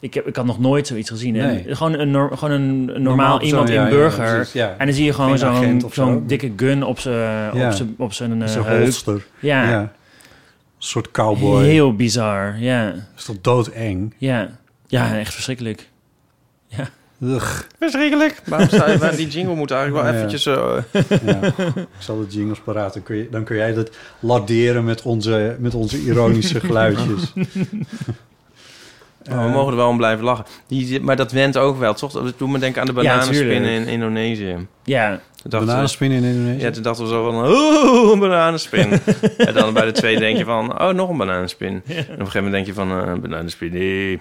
Ik, heb, ik had nog nooit zoiets gezien. En Nee. gewoon een, nor- gewoon een normaal, iemand persoon, in ja, ja, burger. precies, ja. En dan zie je gewoon Geen zo'n agent zo'n of zo. dikke gun op zijn Ja. op zijn op zijn eh, Zo'n heup. holster. Ja, Ja. Een soort cowboy. heel bizar. Ja, Dat is toch doodeng? ja, ja, echt verschrikkelijk. Ugh. Verschrikkelijk. Waarom sta je, waar- die jingle moet eigenlijk wel Ja. eventjes... eh, Ja. Ik zal de jingles paraat. Dan kun, je, dan kun jij dat laderen met onze, met onze ironische geluidjes. Oh, we mogen er wel om blijven lachen. Die, maar dat went ook wel, toch? Dat doet me denken aan de bananenspinnen tuurlijk. in Indonesië. Ja, Toen dachten we- eh, Bananenspinnen in Indonesië. Dus Ja, toen dachten we zo van, oeh, een bananenspin. en dan bij de tweede denk je van, oh, nog een bananenspin. En op een gegeven moment denk je van, eh, een bananenspin, nee.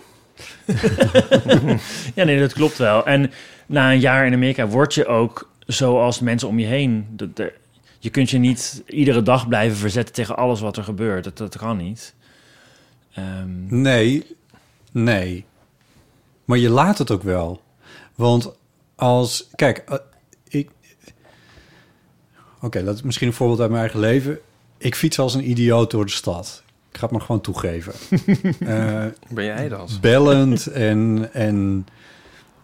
Ja, nee, dat klopt wel. En na een jaar in Amerika word je ook zoals de mensen om je heen. Dat, er- je kunt je niet iedere dag blijven verzetten tegen alles wat er gebeurt. Dat, dat kan niet. Ehm, Nee, nee. Maar je laat het ook wel. Want als... Kijk, eh, ik... Oké, dat is misschien een voorbeeld uit mijn eigen leven. Ik fiets als een idioot door de stad. Ik ga het maar gewoon toegeven. Eh, Ben jij dat? bellend en, en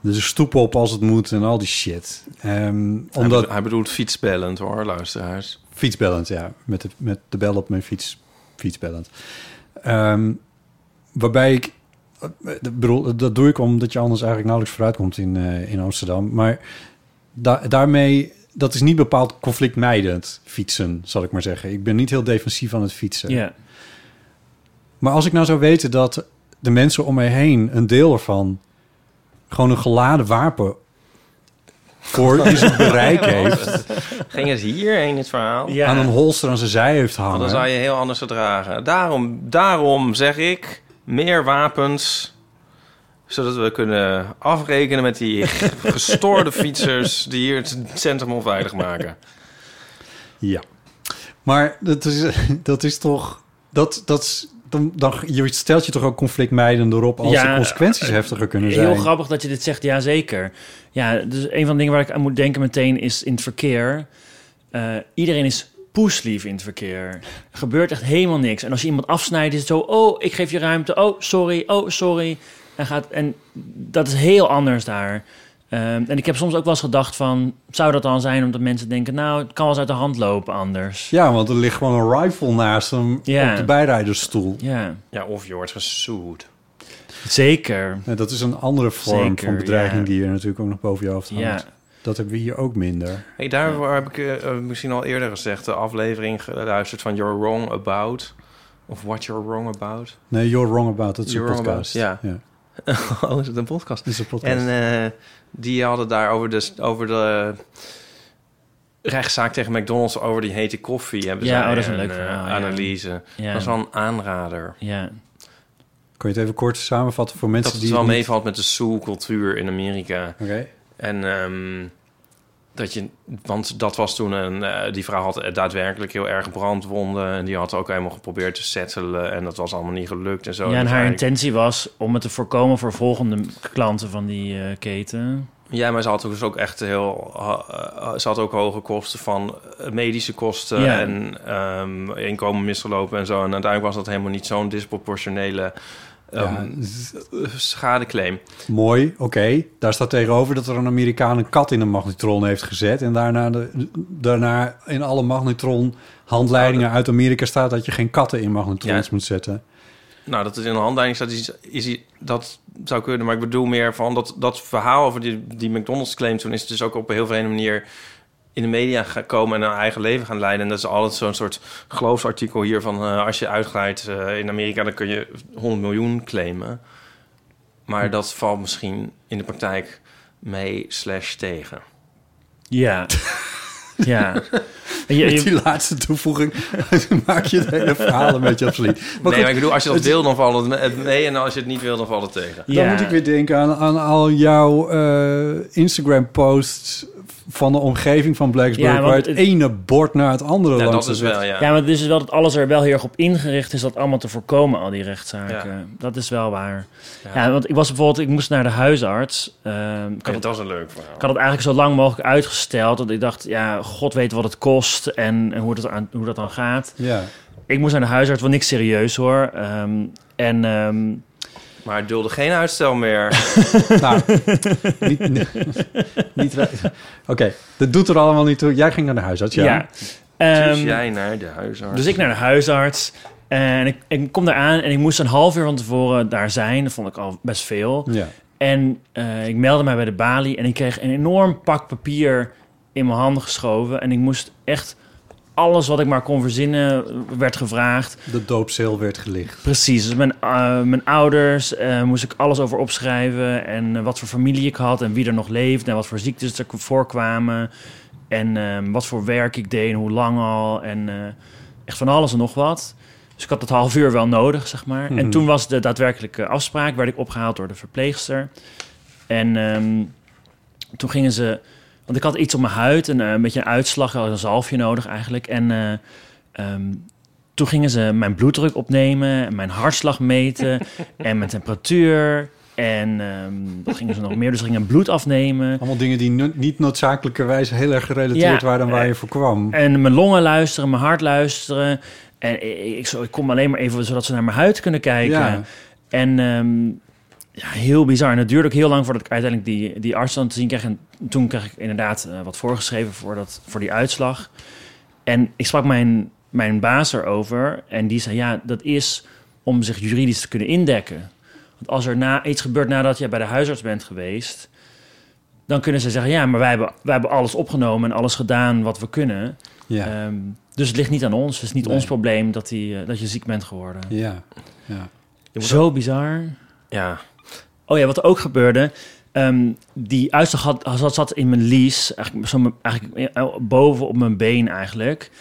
de stoep op als het moet en al die shit. Ehm, Hij, omdat, bedo- hij bedoelt fietsbellend, hoor, luisteraars. Fietsbellend, ja. Met de, met de bel op mijn fiets. Fietsbellend. Ehm, waarbij ik... eh, ik bedoel, dat doe ik omdat je anders eigenlijk nauwelijks vooruitkomt in, eh, in Amsterdam. Maar da- daarmee... Dat is niet bepaald conflictmijdend fietsen, zal ik maar zeggen. Ik ben niet heel defensief aan het fietsen. ja, Maar als ik nou zou weten dat de mensen om mij heen... een deel ervan gewoon een geladen wapen voor in zijn bereik heeft... Ging het hierheen, het verhaal? ja. aan een holster aan zijn zij heeft hangen... Want dan zou je heel anders gedragen. Daarom, daarom zeg ik, meer wapens zodat we kunnen afrekenen met die gestoorde fietsers die hier het centrum onveilig maken. Ja. Maar dat is, dat is toch... Dat, dat is, dan, dan, je stelt je toch ook conflictmijden erop... als Ja, de consequenties heftiger kunnen zijn. Heel grappig dat je dit zegt, ja zeker. Ja, dus een van de dingen waar ik aan moet denken meteen is in het verkeer. Eh, iedereen is poeslief in het verkeer. Er gebeurt echt helemaal niks. En als je iemand afsnijdt is het zo, oh, ik geef je ruimte. Oh, sorry, oh, sorry. En, gaat, en dat is heel anders daar. Ehm, en ik heb soms ook wel eens gedacht van, zou dat dan zijn omdat mensen denken, nou, het kan wel eens uit de hand lopen anders. Ja, want er ligt gewoon een rifle naast hem Ja. op de bijrijdersstoel. Ja, Ja, of je wordt gesoed. zeker. En dat is een andere vorm Zeker, van bedreiging ja. die je natuurlijk ook nog boven je hoofd hangt. Ja. Dat hebben we hier ook minder. Hey, daarvoor heb ik eh, eh, misschien al eerder gezegd... de aflevering geluisterd van You're Wrong About... of What You're Wrong About. Nee, You're Wrong About, dat is You're een Wrong podcast. About, ja. oh, is het een podcast? Dat is een podcast. En eh, die hadden daar over de, over de rechtszaak tegen McDonald's... over die hete koffie. Hebben Ja, ze oh, dat is een leuk eh, verhaal, ja. analyse. Ja, Dat is wel een aanrader. ja. Kun je het even kort samenvatten voor mensen Dat het die... wel het niet- meevalt met de soul-cultuur in Amerika. Oké. En ehm, dat je, want dat was toen een, eh, die vrouw had daadwerkelijk heel erg brandwonden en die had ook helemaal geprobeerd te settelen en dat was allemaal niet gelukt en zo. ja, en Dus haar eigenlijk- intentie was om het te voorkomen voor volgende klanten van die eh, keten. Ja, maar ze had dus ook echt heel, ha- eh, ze had ook hoge kosten van eh, medische kosten Ja. en ehm, inkomen misgelopen en zo. En uiteindelijk was dat helemaal niet zo'n disproportionele ehm, Ja, schadeclaim. Mooi, oké. Daar staat tegenover dat er een Amerikaan een kat in een magnetron heeft gezet. En daarna, de, daarna in alle magnetron handleidingen uit Amerika staat dat je geen katten in magnetrons Ja. moet zetten. Nou, dat is in de handleiding staat is, is, is- dat zou kunnen. Maar ik bedoel meer van dat, dat verhaal over die, die McDonald's claim toen is het dus ook op een heel vreemde manier in de media gekomen en een eigen leven gaan leiden. En dat is altijd zo'n soort geloofsartikel hier van eh, als je uitglijdt eh, in Amerika, dan kun je 100 miljoen claimen. Maar dat valt misschien in de praktijk mee slash tegen. Ja. ja. En je- Met je- die laatste toevoeging maak je het hele verhaal een beetje obsoleet. Maar goed, nee, maar ik bedoel, als je dat wil, dan valt het me- mee. En als je het niet wil, dan valt het tegen. dan ja. moet ik weer denken aan, aan al jouw eh, Instagram-posts van de omgeving van Blacksburg... Ja, want waar het, het- ene bord naar het andere Ja, langs dat is zit. wel, ja. Ja, maar het is wel dat alles er wel heel erg op ingericht is dat allemaal te voorkomen, al die rechtszaken. Dat is wel waar. Ja. Ja. want ik was bijvoorbeeld, ik moest naar de huisarts. Ehm, ik, had Ja, het, dat is een leuk verhaal. ik had het eigenlijk zo lang mogelijk uitgesteld. Want ik dacht, ja, god weet wat het kost en, en hoe, dat aan, hoe dat dan gaat. Ja. Ik moest naar de huisarts, want niks serieus hoor. Ehm, en ehm, Maar het dulde geen uitstel meer. Nou, niet, niet, niet- Oké, dat doet er allemaal niet toe. Jij ging naar de huisarts, ja. ja. Dus Ehm, jij naar de huisarts. Dus ik naar de huisarts. En ik, ik kom daar aan en ik moest een half uur van tevoren daar zijn. Dat vond ik al best veel. Ja. En eh, ik meldde mij bij de balie en ik kreeg een enorm pak papier in mijn handen geschoven. En ik moest echt alles wat ik maar kon verzinnen, eh, werd gevraagd. De doopcel werd gelicht. Precies, dus mijn, eh, mijn ouders eh, moest ik alles over opschrijven. En eh, wat voor familie ik had en wie er nog leefde. En wat voor ziektes er voorkwamen. En eh, wat voor werk ik deed en hoe lang al. En eh, echt van alles en nog wat. Dus ik had dat half uur wel nodig, zeg maar. Mhm. En toen was de daadwerkelijke afspraak, werd ik opgehaald door de verpleegster. En ehm, toen gingen ze... Want ik had iets op mijn huid, een, eh, een beetje een uitslag, ik had een zalfje nodig eigenlijk. En eh, ehm, toen gingen ze mijn bloeddruk opnemen, en mijn hartslag meten en mijn temperatuur. En ehm wat gingen ze nog meer? Dus ze gingen bloed afnemen. Allemaal dingen die no- niet noodzakelijkerwijs heel erg gerelateerd Ja, waren aan waar eh, je voor kwam. En mijn longen luisteren, mijn hart luisteren. En ik, ik, zo- ik kom alleen maar even zodat ze naar mijn huid kunnen kijken. Ja. En ehm, ja, heel bizar. En het duurde ook heel lang voordat ik uiteindelijk die, die arts dan te zien kreeg. En toen kreeg ik inderdaad eh, wat voorgeschreven voor, dat, voor die uitslag. En ik sprak mijn, mijn baas erover. En die zei, ja, dat is om zich juridisch te kunnen indekken. Want als er na, iets gebeurt nadat jij bij de huisarts bent geweest... dan kunnen ze zeggen, ja, maar wij hebben, wij hebben alles opgenomen... en alles gedaan wat we kunnen. Ja. Ehm, dus het ligt niet aan ons. Het is niet Nee. ons probleem dat, die, eh, dat je ziek bent geworden. ja. ja. Je moet Zo bizar. Ja. Oh ja, wat er ook gebeurde. ehm, die uitslag had, zat, zat in mijn lies. Eigenlijk, zo, mijn- eigenlijk eh, boven op mijn been eigenlijk.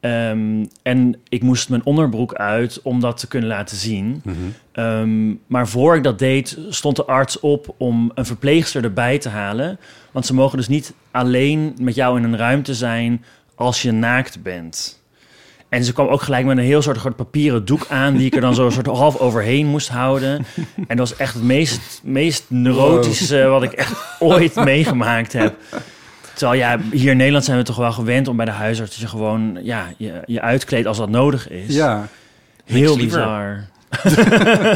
Ehm, en ik moest mijn onderbroek uit om dat te kunnen laten zien. Mhm. Ehm, maar voor ik dat deed, stond de arts op om een verpleegster erbij te halen. Want ze mogen dus niet alleen met jou in een ruimte zijn als je naakt bent. En ze kwam ook gelijk met een heel soort groot papieren doek aan... die ik er dan zo een soort half overheen moest houden. En dat was echt het meest, meest neurotische wat ik echt ooit meegemaakt heb. Terwijl ja, hier in Nederland zijn we toch wel gewend om bij de huisarts... dat je gewoon ja, je, je uitkleedt als dat nodig is. ja. Heel liever. bizar.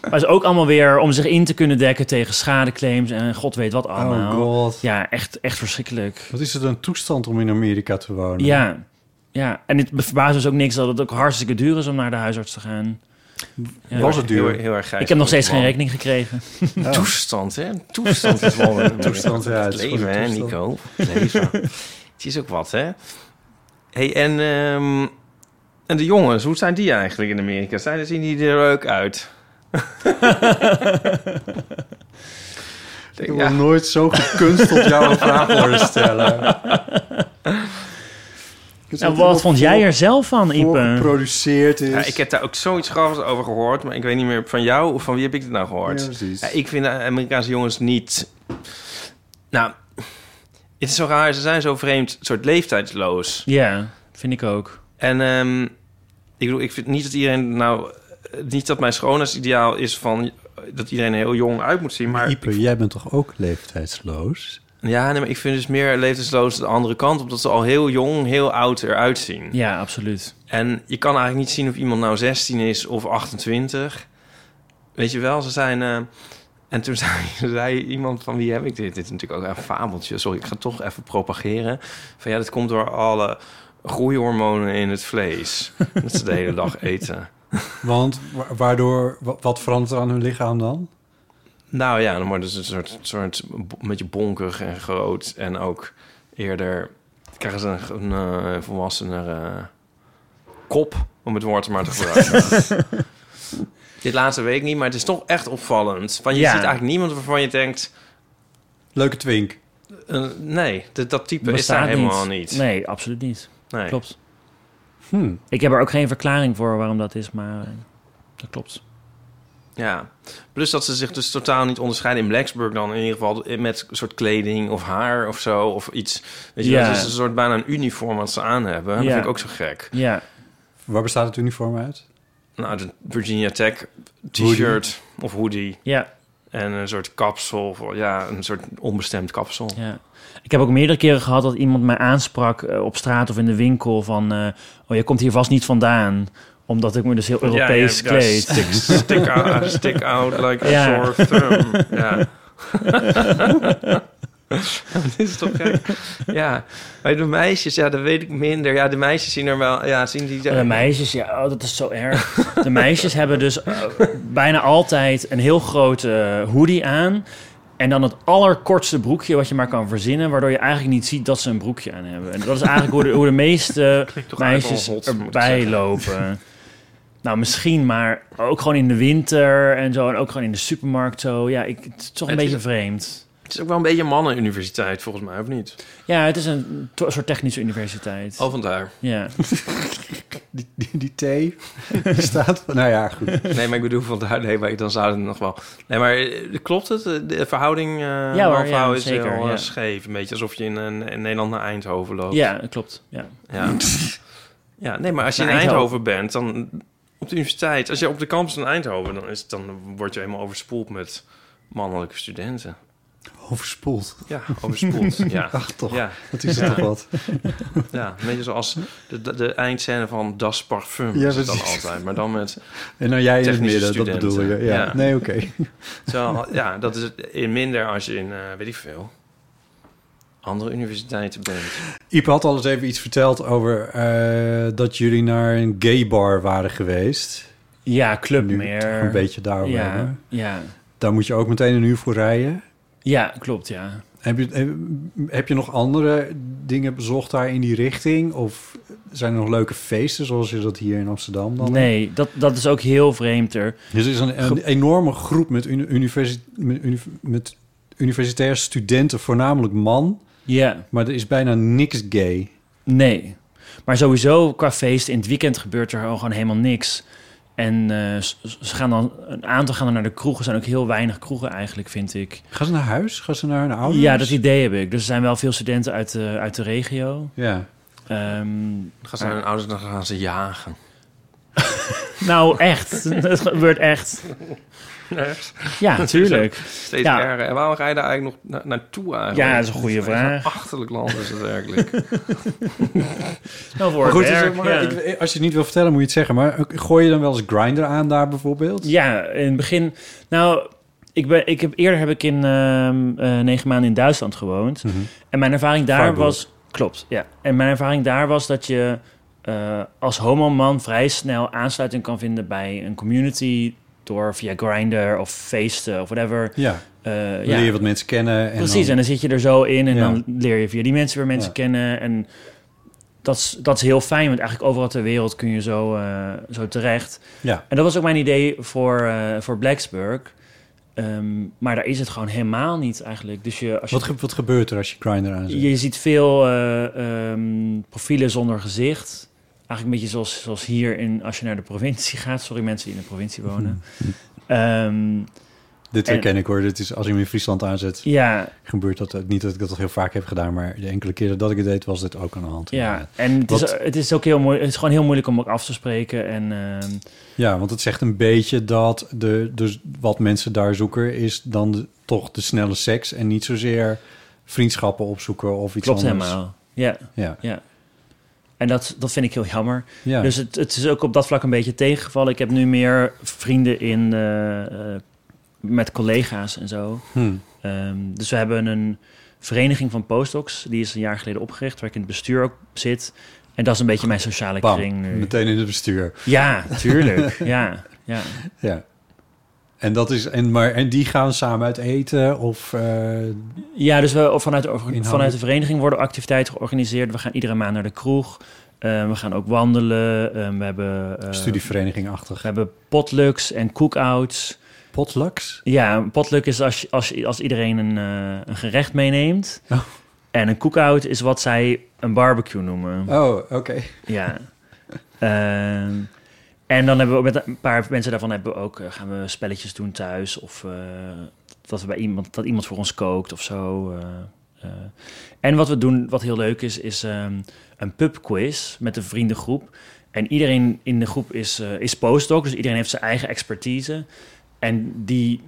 maar is ook allemaal weer om zich in te kunnen dekken tegen schadeclaims en god weet wat Oh allemaal. god. ja, echt, echt verschrikkelijk. Wat is het een toestand om in Amerika te wonen? Ja. ja, en het verbaast dus ook niks dat het ook hartstikke duur is om naar de huisarts te gaan. Ja. Was het Heel, duur? heel erg grijs. Ik heb nog steeds Man. geen rekening gekregen. Oh. Toestand, hè? Een Toestand is wel een Toestand, ja, het Het is gewoon leven, een hè, toestand. Nico? Het leven. Het is ook wat, hè? hey, en, ehm, en de jongens, hoe zijn die eigenlijk in Amerika? Zijn, zien die er leuk uit? Ik Denk, wil ja, nooit zo gekunsteld jou een vraag horen stellen. Nou, wat vond jij er zelf van, Ipe? geproduceerd is. ja, ik heb daar ook zoiets grappigs over gehoord, maar ik weet niet meer van jou of van wie heb ik het nou Ja, gehoord? precies. Ja, ik vind de Amerikaanse jongens niet. Nou, het is zo raar. Ze zijn zo vreemd, soort leeftijdsloos. Ja, vind ik ook. En ehm, ik bedoel, ik vind niet dat iedereen nou, eh, niet dat mijn schoonheidsideaal is van eh, dat iedereen er heel jong uit moet zien. Maar Ieper, jij bent toch ook leeftijdsloos? ja, nee, maar ik vind dus meer leeftijdsloos de andere kant, omdat ze al heel jong, heel oud eruit zien. Ja, absoluut. En je kan eigenlijk niet zien of iemand nou 16 is of 28. Weet je wel, ze zijn. eh, en toen zei, zei iemand van wie heb ik dit? Dit is natuurlijk ook een fabeltje. Sorry, ik ga het toch even propageren. Van ja, dat komt door alle groeihormonen in het vlees. Dat ze de hele dag eten. Want wa- waardoor, wa- wat verandert er aan hun lichaam dan? Nou ja, dan worden ze een soort, soort bo- een beetje bonkig en groot. En ook eerder krijgen ze een, een eh, volwassener eh, kop, om het woord maar te gebruiken. Dit laatste week niet, maar het is toch echt opvallend. Van, je Ja. ziet eigenlijk niemand waarvan je denkt... Leuke twink. eh, nee, dat, dat type is Bestaat daar helemaal niet. Nee, absoluut niet. Nee. Klopt. Hm. Ik heb er ook geen verklaring voor waarom dat is, maar eh, dat klopt. Ja. Plus dat ze zich dus totaal niet onderscheiden in Blacksburg dan. In ieder geval met een soort kleding of haar of zo. Of iets. Weet je, Ja. wel, het is een soort bijna een uniform wat ze aan hebben. Dat Ja. vind ik ook zo gek. Ja, Waar bestaat het uniform uit? Nou, de Virginia Tech t-shirt of hoodie ja. en een soort kapsel, of- ja, een soort onbestemd kapsel. Ja. Ik heb ook meerdere keren gehad dat iemand mij aansprak eh, op straat of in de winkel van... eh, oh, je komt hier vast niet vandaan, omdat ik me dus heel Europees ja, ja, kleed. stick, stick, out, stick out like a Ja. sore thumb. Ja. Dit is toch gek? ja, bij de meisjes, ja, dat weet ik minder. Ja, de meisjes zien er wel... Ja, zien die... De meisjes, ja, oh, dat is zo erg. De meisjes hebben dus eh, bijna altijd een heel grote eh, hoodie aan. En dan het allerkortste broekje wat je maar kan verzinnen, waardoor je eigenlijk niet ziet dat ze een broekje aan hebben. En dat is eigenlijk hoe de, hoe de meeste toch eigenlijk meisjes wel hot, moet ik erbij lopen. Nou, misschien, maar ook gewoon in de winter en zo. En ook gewoon in de supermarkt zo. Ja, ik, het is toch een Het is- beetje vreemd. Het is ook wel een beetje een mannenuniversiteit, volgens mij, of niet? Ja, het is een to- soort technische universiteit. Al vandaar. Ja. Die, die, die thee die staat... Nou ja, goed. Nee, maar ik bedoel vandaar. Nee, maar dan zouden het nog wel... Nee, maar eh, klopt het? De de verhouding eh Ja hoor, man-vrouw ja, is zeker, heel eh, ja. scheef. Een beetje alsof je in, een- in Nederland naar Eindhoven loopt. ja, klopt. Ja. Ja. ja, nee, maar als je Naar in Eindhoven. Eindhoven bent, dan op de universiteit, als je op de campus in Eindhoven, dan, is, het- dan word je helemaal overspoeld met mannelijke studenten. Overspoeld. Ja, overspoeld. ja. Ach, toch. Ja, Wat is het toch wat? ja, een beetje zoals de, de, de eindscène van Das Parfum Ja, is het dan precies. altijd. Maar dan met... En nou jij in het Technische midden, dat studenten. bedoel je. Ja. Ja. Nee, oké. Terwijl, ja, dat is het in minder als je in, eh, weet ik veel, andere universiteiten bent. Iep had al eens even iets verteld over eh, dat jullie naar een gay bar waren geweest. Ja, club Nu meer. toch een beetje daarover Ja, hebben. ja. Daar moet je ook meteen een uur voor rijden. ja, klopt, ja. Heb je, heb, heb je nog andere dingen bezocht daar in die richting? Of zijn er nog leuke feesten zoals je dat hier in Amsterdam dan hebt? Nee, dat, dat is ook heel vreemd er. Dus er is een, een enorme groep met, uni- universi- met, uni- met universitair studenten, voornamelijk man. Ja, Maar er is bijna niks gay. nee. Maar sowieso qua feest in het weekend gebeurt er gewoon helemaal niks. En eh, s- s- ze gaan dan, een aantal gaan dan naar de kroegen. Er zijn ook heel weinig kroegen eigenlijk, vind ik. Gaan ze naar huis? Gaan ze naar hun ouders? Ja, dat idee heb ik. Dus er zijn wel veel studenten uit de, uit de regio. Ja. Ehm, Dan gaan ze naar hun ouders en dan gaan ze jagen. nou, echt. Het gebeurt echt. Ja, natuurlijk. Steeds Ja. erger. En waarom ga je daar eigenlijk nog na- naartoe eigenlijk? Ja, dat is een goede vraag. achterlijk land is het eigenlijk. Nou, voor Maar goed, het dus, werk, maar ja. ik- als je het niet wil vertellen, moet je het zeggen. Maar eh, gooi je dan wel eens grinder aan daar bijvoorbeeld? Ja, in het begin. Nou, ik ben, ik heb, eerder heb ik in ehm, eh, negen maanden in Duitsland gewoond. Mhm. En mijn ervaring daar Freiburg. was. Klopt, ja. En mijn ervaring daar was dat je eh, als homoman vrij snel aansluiting kan vinden bij een community. Door via Grindr of feesten of whatever. Ja, Eh, dan ja, leer je wat mensen kennen. En precies. En dan- dan zit je er zo in en Ja. dan leer je via die mensen weer mensen Ja. kennen. En dat is, dat is heel fijn, want eigenlijk overal ter wereld kun je zo, eh, zo terecht. ja. En dat was ook mijn idee voor, eh, voor Blacksburg. Ehm, maar daar is het gewoon helemaal niet eigenlijk. Dus je, als je, Wat, ge- wat gebeurt er als je grinder aan zet? je ziet veel eh, ehm, profielen zonder gezicht. Eigenlijk een beetje zoals, zoals hier in, als je naar de provincie gaat. Sorry mensen die in de provincie wonen. Ehm, Dit en- herken ik hoor. Dit is, als je hem in Friesland aanzet, ja, gebeurt dat. eh, Niet dat ik dat heel vaak heb gedaan, maar de enkele keren dat ik het deed, was dit ook aan de hand. ja, en het is, Wat- het is ook heel moeilijk. Het is gewoon heel moeilijk om ook af te spreken. En ehm, ja, want het zegt een beetje dat de, dus wat mensen daar zoeken is dan de- toch de snelle seks en niet zozeer vriendschappen opzoeken of iets klopt anders. helemaal. Ja, Ja, ja. En dat, dat vind ik heel jammer. ja. Dus het, het is ook op dat vlak een beetje tegengevallen. Ik heb nu meer vrienden in, eh, eh, met collega's en zo. Hm. Ehm, dus we hebben een vereniging van postdocs. Die is een jaar geleden opgericht, waar ik in het bestuur ook zit. En dat is een beetje mijn sociale Bam, kring nu. meteen in het bestuur. Ja, tuurlijk. ja, ja. Ja. En, dat is, en, maar, en die gaan samen uit eten of... eh, ja, dus we, of vanuit, de orga- Inhoudelijk. vanuit de vereniging worden activiteiten georganiseerd. We gaan iedere maand naar de kroeg. Eh, we gaan ook wandelen. Eh, we hebben... eh, Studievereniging-achtig. We hebben potlucks en cookouts. Potlucks? Ja, een potluck is als, je- als, je- als iedereen een, eh, een gerecht meeneemt. Oh. En een cookout is wat zij een barbecue noemen. Oh, oké. Ja. Ehm, en dan hebben we ook met een paar mensen daarvan hebben we ook, eh, gaan we spelletjes doen thuis. Of eh, dat, we bij iemand, dat iemand voor ons kookt of zo. eh, eh. En wat we doen, wat heel leuk is, is ehm, een pubquiz met een vriendengroep. En iedereen in de groep is, eh, is postdoc, dus iedereen heeft zijn eigen expertise. En die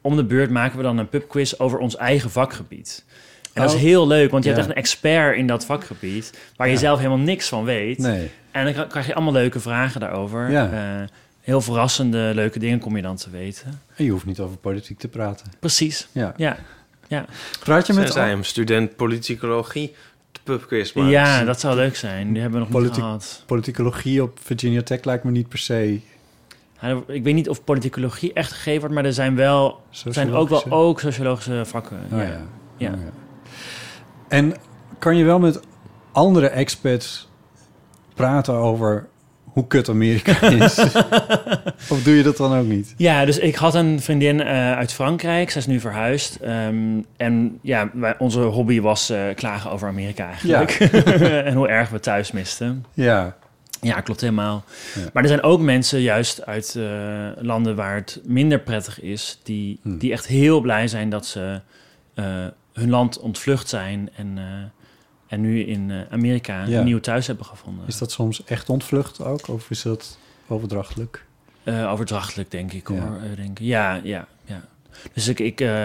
om de beurt maken we dan een pubquiz over ons eigen vakgebied. En dat is Oh. heel leuk, want je hebt Ja. echt een expert in dat vakgebied... waar je Ja. zelf helemaal niks van weet. Nee. En dan kra- krijg je allemaal leuke vragen daarover. Ja. Eh, heel verrassende, leuke dingen kom je dan te weten. En je hoeft niet over politiek te praten. Precies. Ja. Ja. Ja. Praat je met... Zij hem student politicologie, de pubquiz maakt. ja, dat zou leuk zijn. Die hebben we nog Politiek- niet gehad. Politicologie op Virginia Tech lijkt me niet per se... Ja, Ik weet niet of politicologie echt gegeven wordt, maar er zijn wel er zijn ook wel sociologische- ook sociologische vakken. Oh, ja. ja. Ja. Oh, ja. En kan je wel met andere expats praten over hoe kut Amerika is? of doe je dat dan ook niet? Ja, dus ik had een vriendin eh, uit Frankrijk. Zij is nu verhuisd. Ehm, en ja, wij- onze hobby was eh, klagen over Amerika eigenlijk. en hoe erg we thuis misten. Ja, Ja, klopt helemaal. Ja. Maar er zijn ook mensen juist uit eh, landen waar het minder prettig is... die, Hmm. die echt heel blij zijn dat ze eh, hun land ontvlucht zijn... en, eh, en nu in eh, Amerika Ja. een nieuw thuis hebben gevonden. is dat soms echt ontvlucht ook? Of is dat overdrachtelijk? Eh, overdrachtelijk, denk ik Ja. hoor. Eh, denk, ik. ja, ja, ja. Dus ik, ik eh,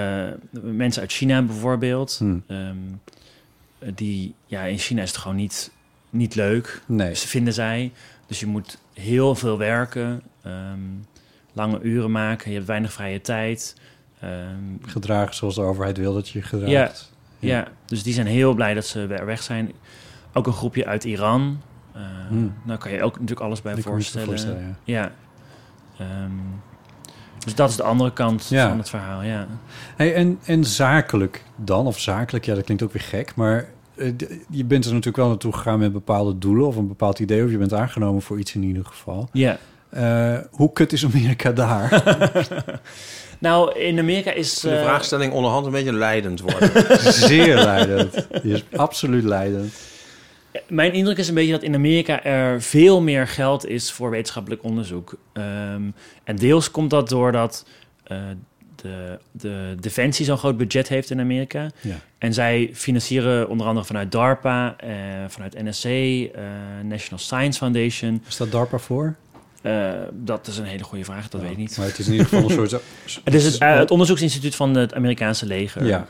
mensen uit China bijvoorbeeld, Hm, ehm, die, ja, in China is het gewoon niet, niet leuk. Nee. Ze vinden zij. Dus je moet heel veel werken, ehm, lange uren maken, je hebt weinig vrije tijd. Ehm, Gedragen zoals de overheid wil dat je je gedraagt. Ja. ja, dus die zijn heel blij dat ze weer weg zijn. Ook een groepje uit Iran. Eh Hm. Nou kan je ook natuurlijk alles bij Die kan ik me voorstellen. voorstellen, ja. Ja. Ehm, dus dat is de andere kant Ja. van het verhaal, ja. Hey, en, en zakelijk dan? Of zakelijk, ja, dat klinkt ook weer gek, maar eh, d- je bent er natuurlijk wel naartoe gegaan met bepaalde doelen of een bepaald idee, of je bent aangenomen voor iets in ieder geval. Ja. Eh, hoe kut is Amerika daar? Nou, in Amerika is... De eh, vraagstelling onderhand een beetje leidend worden. Zeer leidend. Die is absoluut leidend. Mijn indruk is een beetje dat in Amerika er veel meer geld is voor wetenschappelijk onderzoek. Ehm, en deels komt dat doordat eh, de, de Defensie zo'n groot budget heeft in Amerika. Ja. En zij financieren onder andere vanuit DARPA, eh, vanuit NSC, eh, National Science Foundation. Is dat DARPA voor? Eh, dat is een hele goede vraag, dat weet ik niet. Maar het is in ieder geval een soort... Het is het, eh, het onderzoeksinstituut van het Amerikaanse leger. Ja,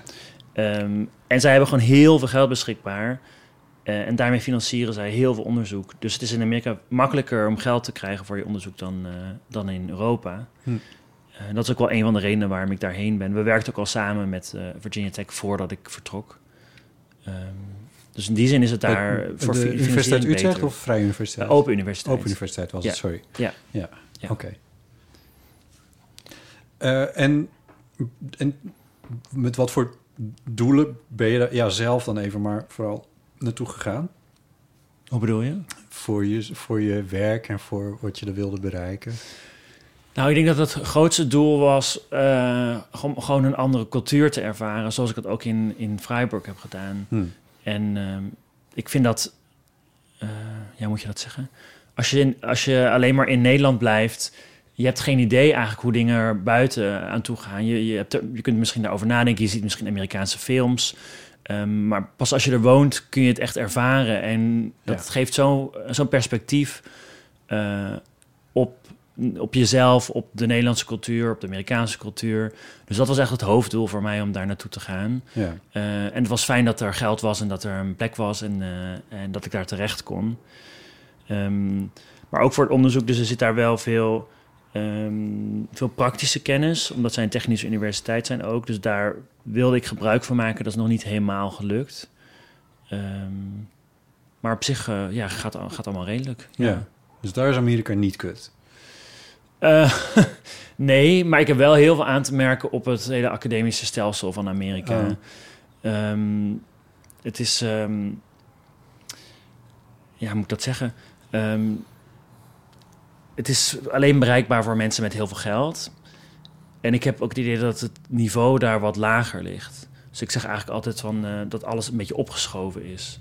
Ehm, en zij hebben gewoon heel veel geld beschikbaar. Eh, en daarmee financieren zij heel veel onderzoek. Dus het is in Amerika makkelijker om geld te krijgen voor je onderzoek dan, eh, dan in Europa. Hm. Eh, dat is ook wel een van de redenen waarom ik daarheen ben. We werkten ook al samen met eh, Virginia Tech voordat ik vertrok. Ehm, dus in die zin is het daar Bij- voor Eh, de fi- Universiteit financiering Utrecht beter. of Vrije Universiteit? Eh, Open Universiteit. Open Universiteit was het, Ja. sorry. Ja. Ja, Ja. oké. Eh, en, en met wat voor doelen ben je daar ja, zelf dan even maar vooral naartoe gegaan? Hoe bedoel je? Voor je, voor je werk en voor wat je er wilde bereiken? Nou, ik denk dat het grootste doel was eh, gewoon, gewoon een andere cultuur te ervaren, zoals ik dat ook in, in Freiburg heb gedaan. Hm. En ehm, ik vind dat, eh, ja, moet je dat zeggen? Als je, in, als je alleen maar in Nederland blijft, je hebt geen idee eigenlijk hoe dingen er buiten aan toe gaan. Je, je, hebt er- je kunt misschien daarover nadenken, je ziet misschien Amerikaanse films. ehm, maar pas als je er woont kun je het echt ervaren. En dat Ja. geeft zo- zo'n perspectief eh, op, op jezelf, op de Nederlandse cultuur, op de Amerikaanse cultuur. Dus dat was echt het hoofddoel voor mij om daar naartoe te gaan. Ja. Eh, en het was fijn dat er geld was en dat er een plek was en, eh, en dat ik daar terecht kon. Ehm, maar ook voor het onderzoek, dus er zit daar wel veel, ehm, veel praktische kennis, omdat zij een technische universiteit zijn ook. Dus daar wilde ik gebruik van maken, dat is nog niet helemaal gelukt. Ehm, maar op zich eh, ja, gaat, al- gaat allemaal redelijk. Ja. Dus daar is Amerika niet kut. Eh, nee, maar ik heb wel heel veel aan te merken op het hele academische stelsel van Amerika. Oh. Ehm, het is, ehm, ja, hoe moet ik dat zeggen? Ehm, het is alleen bereikbaar voor mensen met heel veel geld. En ik heb ook het idee dat het niveau daar wat lager ligt. Dus ik zeg eigenlijk altijd van, eh, dat alles een beetje opgeschoven is.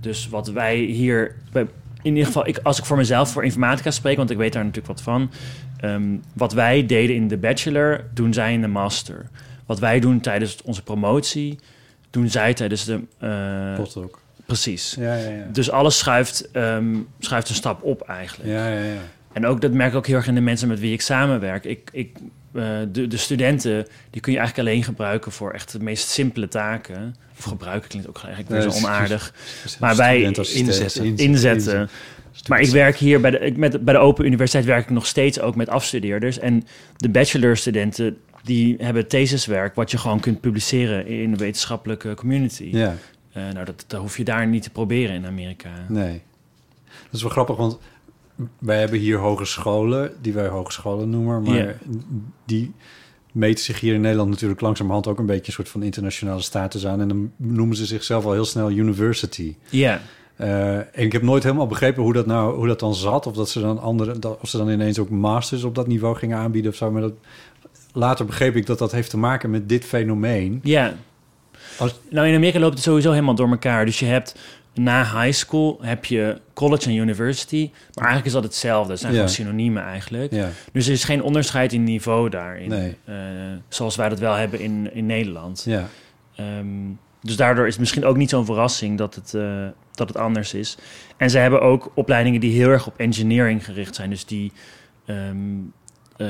Dus wat wij hier, bij- in ieder geval, ik, als ik voor mezelf voor informatica spreek, want ik weet daar natuurlijk wat van. ehm, wat wij deden in de bachelor, doen zij in de master. Wat wij doen tijdens onze promotie, doen zij tijdens de. eh, Postdoc. precies. Ja, ja, ja. Dus alles schuift, ehm, schuift een stap op eigenlijk. Ja, ja, ja. En ook, dat merk ik ook heel erg in de mensen met wie ik samenwerk. Ik, ik, eh, de, de studenten, die kun je eigenlijk alleen gebruiken voor echt de meest simpele taken. Of gebruiken klinkt ook eigenlijk weer Nee, zo dat is- onaardig. Maar wij Studentassistent, inzetten. inzet- Inzetten. Maar ik werk hier bij de, ik met, bij de Open Universiteit werk ik nog steeds ook met afstudeerders. En de bachelorstudenten, die hebben thesiswerk wat je gewoon kunt publiceren in de wetenschappelijke community. Ja, Eh, nou, dat, dat hoef je daar niet te proberen in Amerika. nee. Dat is wel grappig, want wij hebben hier hogescholen, die wij hogescholen noemen, maar Ja. die meten zich hier in Nederland natuurlijk langzamerhand ook een beetje een soort van internationale status aan. En dan noemen ze zichzelf al heel snel university. Ja, Eh, en ik heb nooit helemaal begrepen hoe dat, nou, hoe dat dan zat. Of dat ze dan andere, dat, of ze dan ineens ook masters op dat niveau gingen aanbieden of zo. Maar dat, later begreep ik dat dat heeft te maken met dit fenomeen. ja. Als- Nou, in Amerika loopt het sowieso helemaal door elkaar. Dus je hebt na high school heb je college en university. Maar eigenlijk is dat hetzelfde. Het zijn Ja. gewoon synoniemen eigenlijk. Ja, Dus er is geen onderscheid in niveau daarin. Nee. Eh, zoals wij dat wel hebben in, in Nederland. ja, Ehm, dus daardoor is het misschien ook niet zo'n verrassing dat het, eh, dat het anders is. En ze hebben ook opleidingen die heel erg op engineering gericht zijn. Dus die, ehm, eh,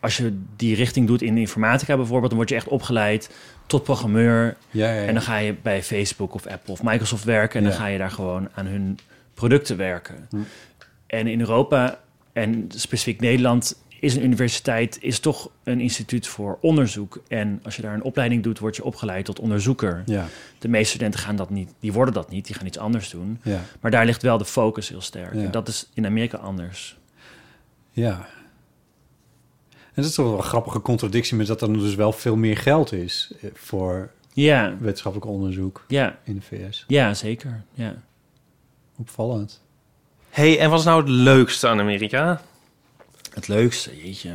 als je die richting doet in informatica bijvoorbeeld, dan word je echt opgeleid tot programmeur. ja, ja, ja. En dan ga je bij Facebook of Apple of Microsoft werken. En dan Ja. ga je daar gewoon aan hun producten werken. Hm. En in Europa en specifiek Nederland is een universiteit is toch een instituut voor onderzoek. En als je daar een opleiding doet, word je opgeleid tot onderzoeker. ja, De meeste studenten gaan dat niet, die worden dat niet, die gaan iets anders doen. ja, Maar daar ligt wel de focus heel sterk. Ja. En dat is in Amerika anders. ja. En dat is toch wel een grappige contradictie met dat er dus wel veel meer geld is eh, voor Ja, wetenschappelijk onderzoek ja, in de VS. ja zeker. Ja. Opvallend. hey, en wat is nou het leukste aan Amerika? Het leukste, jeetje.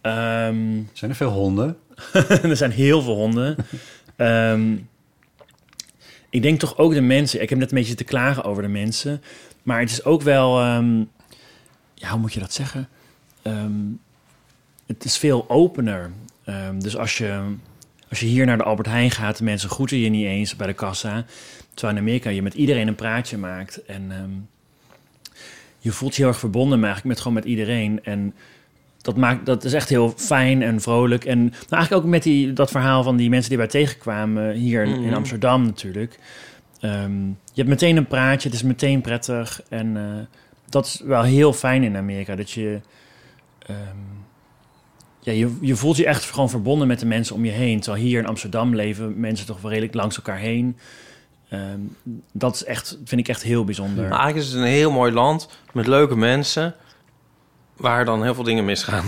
Ehm, Zijn er veel honden? er zijn heel veel honden. Ehm, ik denk toch ook de mensen. Ik heb net een beetje te klagen over de mensen. Maar het is ook wel... ehm, ja, hoe moet je dat zeggen? Ehm, het is veel opener. Ehm, dus als je, als je hier naar de Albert Heijn gaat... de mensen groeten je niet eens bij de kassa. Terwijl in Amerika je met iedereen een praatje maakt. En ehm, je voelt je heel erg verbonden maar eigenlijk met, gewoon met iedereen. En dat, maakt, dat is echt heel fijn en vrolijk. En nou, eigenlijk ook met die, dat verhaal van die mensen die wij tegenkwamen hier in- in Mhm. Amsterdam natuurlijk. Ehm, je hebt meteen een praatje, het is meteen prettig. En eh, dat is wel heel fijn in Amerika. Dat je, ehm, ja, je, je voelt je echt gewoon verbonden met de mensen om je heen. Terwijl hier in Amsterdam leven mensen toch wel redelijk langs elkaar heen. Ehm, dat is echt, vind ik echt heel bijzonder. Maar Nou, eigenlijk is het een heel mooi land met leuke mensen... waar dan heel veel dingen misgaan.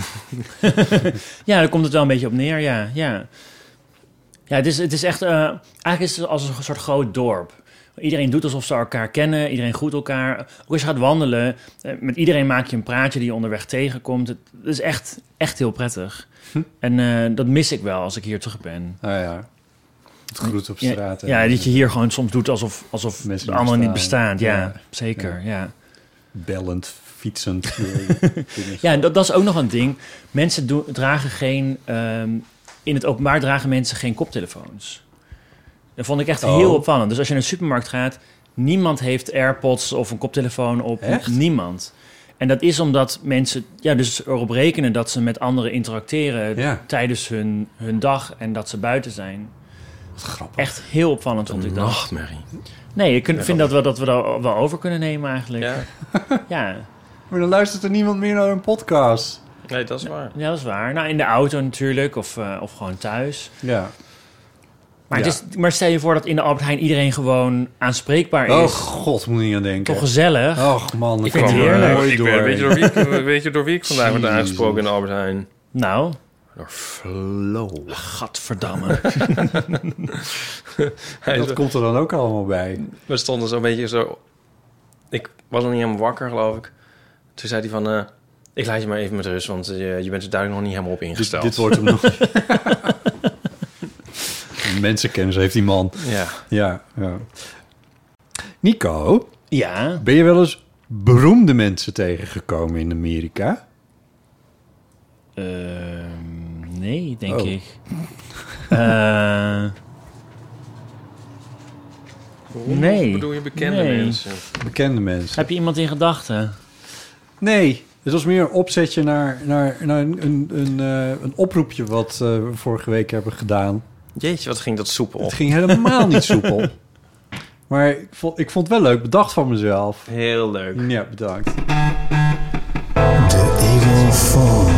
Ja, daar komt het wel een beetje op neer, ja. Ja, ja het, is, het is echt... eh, eigenlijk is het als een soort groot dorp. Iedereen doet alsof ze elkaar kennen. Iedereen groet elkaar. Ook als je gaat wandelen. eh, Met iedereen maak je een praatje die je onderweg tegenkomt. Het het is echt, echt heel prettig. Hm. En eh, dat mis ik wel als ik hier terug ben. Nou ja, het groet op straat. en- Ja, dat je hier gewoon soms doet alsof, alsof Mensen de niet anderen niet bestaan. bestaan. Ja, Ja. zeker. ja. bellend, fietsend. Ja, en dat, dat is ook nog een ding. Mensen doen- dragen geen... ehm, in het openbaar dragen mensen geen koptelefoons. Dat vond ik echt Oh. heel opvallend. Dus als je naar de supermarkt gaat... niemand heeft AirPods of een koptelefoon op. Echt? Niemand. En dat is omdat mensen ja, dus erop rekenen dat ze met anderen interacteren... Ja. tijdens hun, hun dag en dat ze buiten zijn. Wat grappig. Echt heel opvallend vond Een ik dat. nachtmerrie. Nee, ik kun- vind dat we dat we daar wel over kunnen nemen eigenlijk. Ja, Ja, ja. Maar dan luistert er niemand meer naar een podcast. nee, dat is waar. dat is waar. Nou, in de auto natuurlijk of, eh, of gewoon thuis... Ja. Maar, het Ja. is, maar stel je voor dat in de Albert Heijn iedereen gewoon aanspreekbaar is. Oh god, moet je niet aan denken. toch gezellig. Och man, dat Ik vind kwam het er heerlijk. mooi Ik door. ben- weet, je door wie, ik- eh, weet je door wie ik vandaag werd Jezus. aangesproken in de Albert Heijn? Nou, Door Flo. gadverdamme. Hij Dat zo- komt er dan ook allemaal bij. We stonden zo'n beetje zo... Ik was nog niet helemaal wakker, geloof ik. Toen zei hij van... eh, ik laat je maar even met rust, want eh, je bent er duidelijk nog niet helemaal op Dit, ingesteld. dit wordt hem nog. Mensenkennis heeft die man. Ja. Ja, ja. Nico, ja, ben je wel eens beroemde mensen tegengekomen in Amerika? ehm, nee, denk Oh. ik. Eh, Nee. bedoel je bekende Nee. mensen? Bekende mensen. heb je iemand in gedachten? Nee, het was meer een opzetje naar, naar, naar een, een, een, eh, een oproepje wat eh, we vorige week hebben gedaan. Jeetje, wat ging dat soepel. Het ging helemaal niet soepel. Maar ik vond, ik vond het wel leuk bedacht van mezelf. Heel leuk. Ja, bedankt. The Eagle Falls.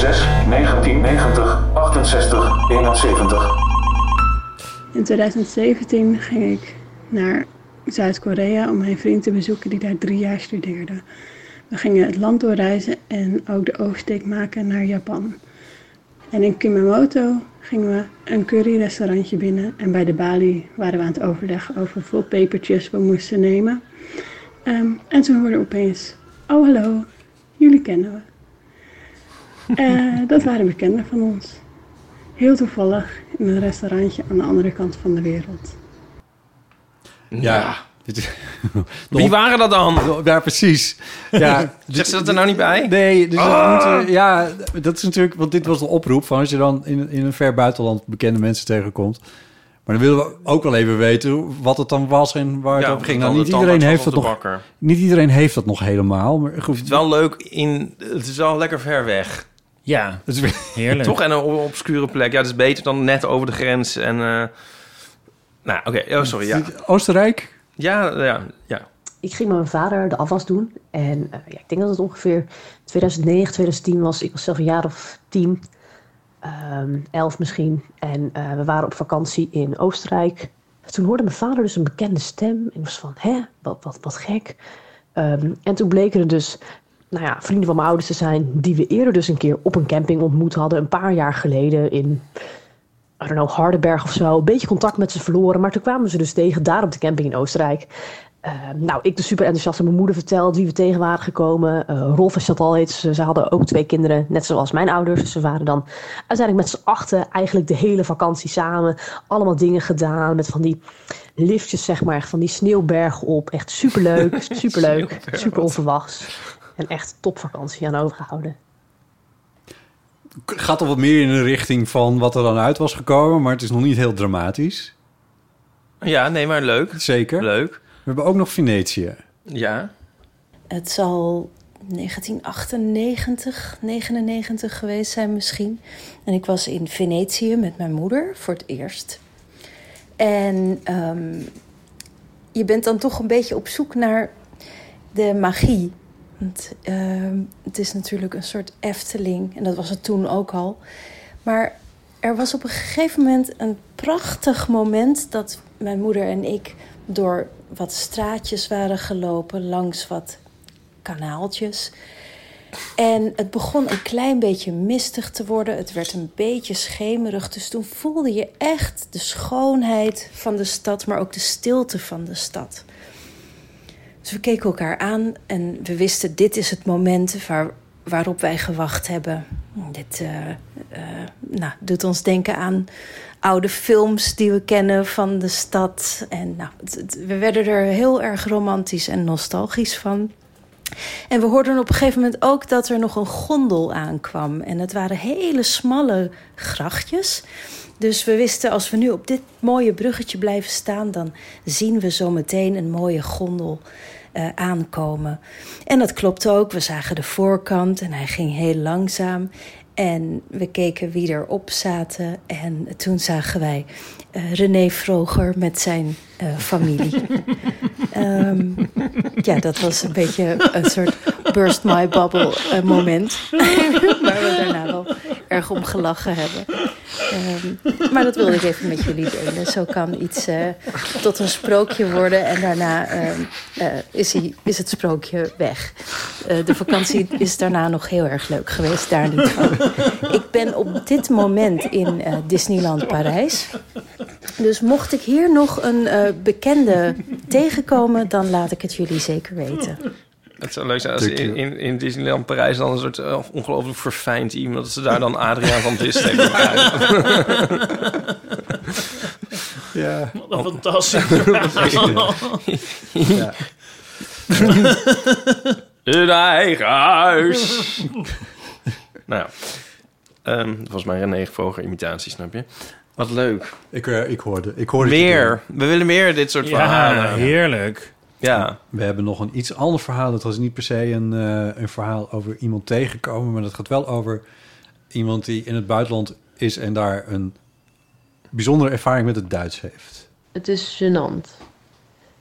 06 1990 68 71. In 2017 ging ik naar Zuid-Korea om mijn vriend te bezoeken die daar drie jaar studeerde. We gingen het land doorreizen en ook de oversteek maken naar Japan. En in Kumamoto gingen we een curryrestaurantje binnen en bij de balie waren we aan het overleggen over hoeveel pepertjes we moesten nemen. Ehm, en toen hoorden we opeens, oh hallo, jullie kennen we. Eh, dat waren bekenden van ons. Heel toevallig in een restaurantje aan de andere kant van de wereld. Ja. Dit is- Wie waren dat dan? Ja, precies. Ja, Zegt ze dat er nou niet bij? Nee, dus Ah! dat moet, eh, ja, dat is natuurlijk, want dit was een oproep van als je dan in, in een ver buitenland bekende mensen tegenkomt. Maar dan willen we ook wel even weten wat het dan was en waar het over ging. Nou, niet, iedereen heeft dat nog, Bakker. niet iedereen heeft dat nog helemaal. Maar goed, Het is wel leuk in... Het is wel lekker ver weg. Ja, het is weer- heerlijk. Toch? En een o- obscure plek. Ja, dat is beter dan net over de grens. En... eh, nou, oké. Oh, sorry. Ja. Oostenrijk? Ja, ja, ja. Ik ging met mijn vader de afwas doen. En eh, ja, ik denk dat het ongeveer 2009, 2010 was. Ik was zelf een jaar of tien, ehm, elf misschien. En eh, we waren op vakantie in Oostenrijk. Toen hoorde mijn vader dus een bekende stem. Ik was van, hè, wat, wat, wat gek. Ehm, en toen bleken er dus nou ja, vrienden van mijn ouders te zijn... die we eerder dus een keer op een camping ontmoet hadden... een paar jaar geleden in I don't know, Hardenberg of zo. Een beetje contact met ze verloren. Maar toen kwamen ze dus tegen daar op de camping in Oostenrijk. Eh, nou, ik dus super enthousiast aan mijn moeder verteld wie we tegen waren gekomen. Eh, Rolf en Chantal heet ze. Ze hadden ook twee kinderen, net zoals mijn ouders. Dus Ze waren dan uiteindelijk met z'n achten eigenlijk de hele vakantie samen. Allemaal dingen gedaan met van die liftjes, zeg maar. echt Van die sneeuwbergen op. Echt superleuk, superleuk, super onverwachts. En echt topvakantie aan overgehouden. Gaat al wat meer in de richting van wat er dan uit was gekomen, maar het is nog niet heel dramatisch. Ja, nee, maar leuk. Zeker. Leuk. We hebben ook nog Venetië. Ja. Het zal 1998, 99 geweest zijn misschien. En ik was in Venetië met mijn moeder voor het eerst. En ehm, je bent dan toch een beetje op zoek naar de magie. Want ehm, het is natuurlijk een soort Efteling. En dat was het toen ook al. Maar er was op een gegeven moment een prachtig moment dat mijn moeder en ik door wat straatjes waren gelopen, langs dus wat kanaaltjes. En het begon een klein beetje mistig te worden. Het werd een beetje schemerig. Dus toen voelde je echt de schoonheid van de stad, maar ook de stilte van de stad. Dus we keken elkaar aan en we wisten: dit is het moment waar, waarop wij gewacht hebben. Dit eh, eh, nou, doet ons denken aan oude films die we kennen van de stad. En nou, het- het- we werden er heel erg romantisch en nostalgisch van. En we hoorden op een gegeven moment ook dat er nog een gondel aankwam. En het waren hele smalle grachtjes. Dus we wisten, als we nu op dit mooie bruggetje blijven staan, dan zien we zo meteen een mooie gondel eh, aankomen. En dat klopte ook. We zagen de voorkant en hij ging heel langzaam. En we keken wie erop zaten. En toen zagen wij eh, René Vroger met zijn eh, familie. Ehm, ja, dat was een beetje een soort burst my bubble eh, moment. Waar we daarna wel erg om gelachen hebben. Ehm, maar dat wilde ik even met jullie delen. Zo kan iets eh, tot een sprookje worden en daarna ehm, eh, is, hij, is het sprookje weg. Eh, de vakantie is daarna nog heel erg leuk geweest, daar niet van. Ik ben op dit moment in eh, Disneyland Parijs. Dus mocht ik hier nog een eh, bekende tegenkomen, dan laat ik het jullie zeker weten. Het zou leuk zijn als in, Natuurlijk. in, in Disneyland Parijs dan een soort eh, ongelooflijk verfijnd iemand... dat ze daar dan Adriaan van Dis tegen elkaar- Ja. eh, Wat een fantastisch. Een eigen huis. nou, ehm dat was mijn René Vroger imitatie, snap je? Wat leuk. Ik, eh, ik hoorde. Ik hoorde het je doen. Meer. We willen meer dit soort Ja, nou verhalen. heerlijk. Ja. We hebben nog een iets ander verhaal. Dat was niet per se een, eh, een verhaal over iemand tegenkomen. Maar dat gaat wel over iemand die in het buitenland is en daar een bijzondere ervaring met het Duits heeft. Het is gênant.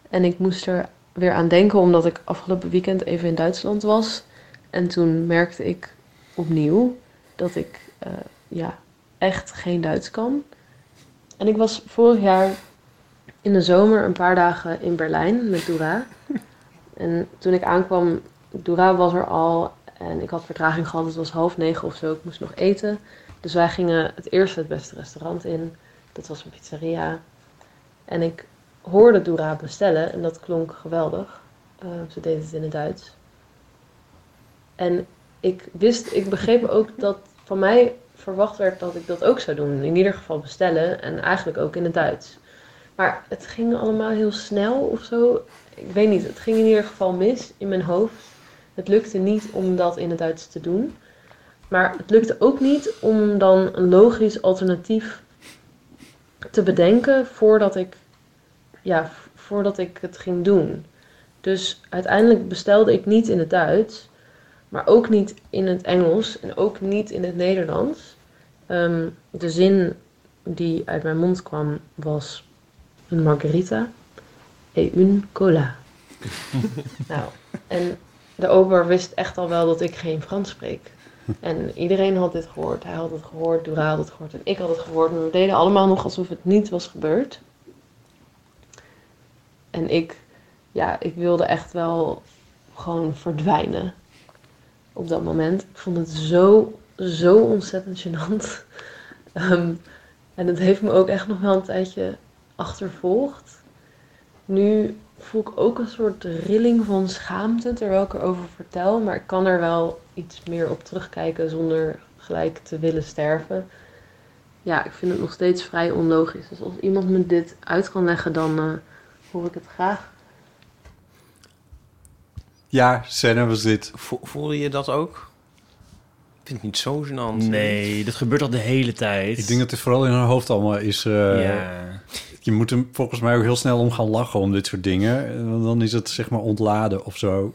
En ik moest er weer aan denken omdat ik afgelopen weekend even in Duitsland was. En toen merkte ik opnieuw dat ik eh, ja, echt geen Duits kan. En ik was vorig jaar in de zomer een paar dagen in Berlijn met Dora. En toen ik aankwam, Dora was er al en ik had vertraging gehad. Het was half negen of zo, ik moest nog eten. Dus wij gingen het eerste het beste restaurant in. Dat was een pizzeria. En ik hoorde Dora bestellen en dat klonk geweldig. Eh, ze deed het in het Duits. En ik wist, ik begreep ook dat van mij verwacht werd dat ik dat ook zou doen. In ieder geval bestellen en eigenlijk ook in het Duits. Maar het ging allemaal heel snel of zo. Ik weet niet, het ging in ieder geval mis in mijn hoofd. Het lukte niet om dat in het Duits te doen. Maar het lukte ook niet om dan een logisch alternatief te bedenken voordat ik, ja, v- voordat ik het ging doen. Dus uiteindelijk bestelde ik niet in het Duits, maar ook niet in het Engels en ook niet in het Nederlands. Ehm, de zin die uit mijn mond kwam was een margarita en een cola. nou, en de ober wist echt al wel dat ik geen Frans spreek. En iedereen had dit gehoord. Hij had het gehoord, Dora had het gehoord en ik had het gehoord. Maar we deden allemaal nog alsof het niet was gebeurd. En ik, ja, ik wilde echt wel gewoon verdwijnen op dat moment. Ik vond het zo, zo ontzettend gênant. Ehm, en het heeft me ook echt nog wel een tijdje achtervolgd. Nu voel ik ook een soort rilling van schaamte terwijl ik erover vertel. Maar ik kan er wel iets meer op terugkijken zonder gelijk te willen sterven. Ja, ik vind het nog steeds vrij onlogisch. Dus als iemand me dit uit kan leggen, dan eh, hoor ik het graag. Ja, scène was dit. Vo- Voelde je dat ook? Ik vind het niet zo gênant. Nee, dat gebeurt al de hele tijd. Ik denk dat dit vooral in haar hoofd allemaal is. eh, Ja. Je moet hem volgens mij ook heel snel om gaan lachen om dit soort dingen. Eh, want Dan is het zeg maar ontladen of zo.